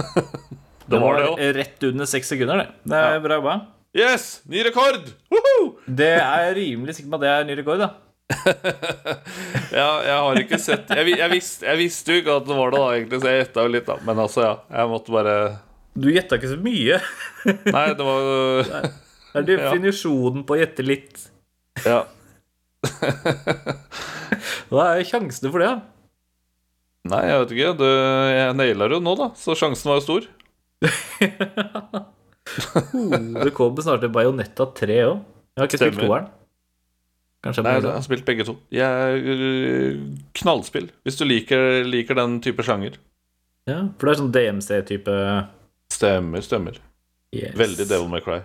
Speaker 1: Det var det òg.
Speaker 2: rett under seks sekunder, det. Det er bra jobba.
Speaker 1: Yes! Ny rekord! Woho!
Speaker 2: Det er rimelig sikkert at det er ny rekord, da.
Speaker 1: Ja, jeg har ikke sett Jeg, vi- jeg, visste, jeg visste jo ikke at det var det, da, egentlig, så jeg gjetta jo litt, da. Men altså, ja. Jeg måtte bare
Speaker 2: Du gjetta ikke så mye.
Speaker 1: Nei, det var
Speaker 2: Det er definisjonen på å gjette litt.
Speaker 1: Ja.
Speaker 2: Hva er sjansene for det, da?
Speaker 1: Nei, jeg vet ikke. Det, jeg naila det jo nå, da, så sjansen var jo stor.
Speaker 2: Oh, Det kommer snart en Bajonetta 3 òg. Jeg har ikke spilt
Speaker 1: Stemmer.
Speaker 2: toeren. Kanskje
Speaker 1: Nei,
Speaker 2: jeg
Speaker 1: jeg
Speaker 2: må
Speaker 1: har spilt begge to. Jeg, øh, knallspill, hvis du liker, liker den type sjanger.
Speaker 2: ja, For det er sånn DMC-type
Speaker 1: Stemmer, stemmer.
Speaker 2: yes.
Speaker 1: Veldig Devil May Cry.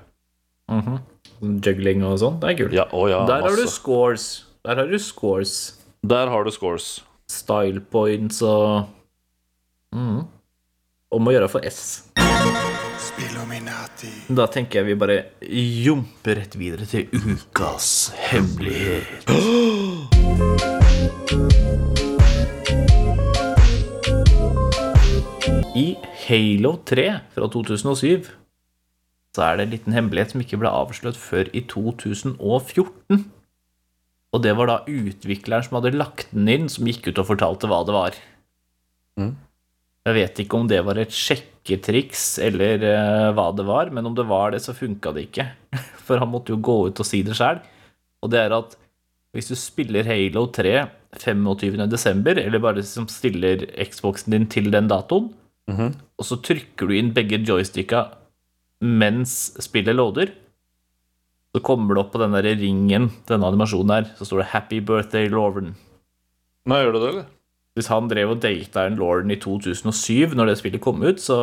Speaker 2: Mhm. Sånn Juggling og sånn. Det er kult.
Speaker 1: Ja, å ja,
Speaker 2: Der har du
Speaker 1: masse.
Speaker 2: scores. Der har du scores.
Speaker 1: Der har du scores.
Speaker 2: Style points og Mhm. Om å gjøre for S.
Speaker 4: Spillominati.
Speaker 2: Da tenker jeg vi bare jumper rett videre til ukas hemmelighet. I Halo 3 fra 2007 så er det en liten hemmelighet som ikke ble avslørt før i 2014. Og det var da utvikleren som hadde lagt den inn, som gikk ut og fortalte hva det var. Jeg vet ikke om det var et sjekketriks eller eh, hva det var, men om det var det, så funka det ikke. For han måtte jo gå ut og si det sjøl. Og det er at hvis du spiller Halo 3 25.12., eller bare liksom stiller Xboxen din til den datoen, og så trykker du inn begge joysticka mens spillet loader, så kommer det opp på den der ringen, denne animasjonen her, så står det 'Happy birthday, Lauren'.
Speaker 1: Nå gjør du det, eller?
Speaker 2: Hvis han drev og data en Lauren i 2007, når det spillet kom ut, så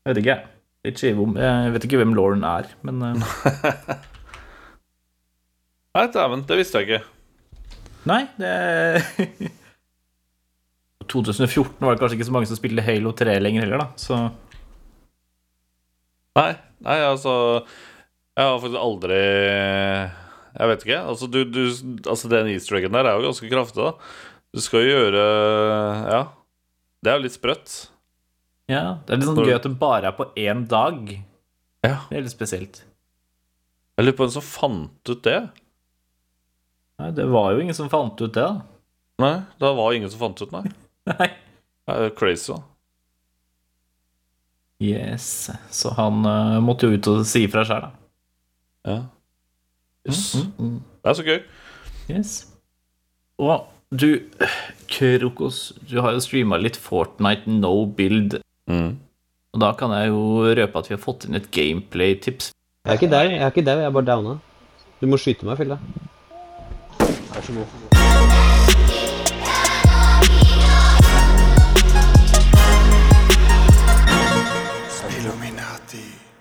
Speaker 2: Jeg vet ikke, jeg. Litt skive om Jeg vet ikke hvem Lauren er, men eh,
Speaker 1: Nei, dæven, det visste jeg ikke.
Speaker 2: Nei, det 2014 var det kanskje ikke så mange som spilte Halo 3 lenger heller, da, så
Speaker 1: Nei, nei, altså Jeg har faktisk aldri Jeg vet ikke. Altså, du, du, altså den easter eggen der er jo ganske kraftig, da. Du skal jo gjøre Ja. Det er jo litt sprøtt.
Speaker 2: Ja, det er litt sånn
Speaker 1: Når-
Speaker 2: gøy at det bare er på én dag.
Speaker 1: Ja.
Speaker 2: Det er litt spesielt.
Speaker 1: Jeg lurer på hvem som fant ut det.
Speaker 2: Nei, det var jo ingen som fant ut det, da.
Speaker 1: Nei, det var ingen som fant ut, nei.
Speaker 2: Nei.
Speaker 1: Det er jo crazy, da.
Speaker 2: Yes. Så han eh, måtte jo ut og si ifra sjøl, da.
Speaker 1: Ja. Yes. Det er så gøy.
Speaker 2: Yes. Og du, Krokos, du har jo streama litt Fortnite no build.
Speaker 1: Mm.
Speaker 2: Og da kan jeg jo røpe at vi har fått inn et gameplay-tips.
Speaker 4: Jeg er ikke der, jeg er ikke der, jeg er bare downa. Du må skyte meg, Fille. Vær så god.
Speaker 5: Illuminati.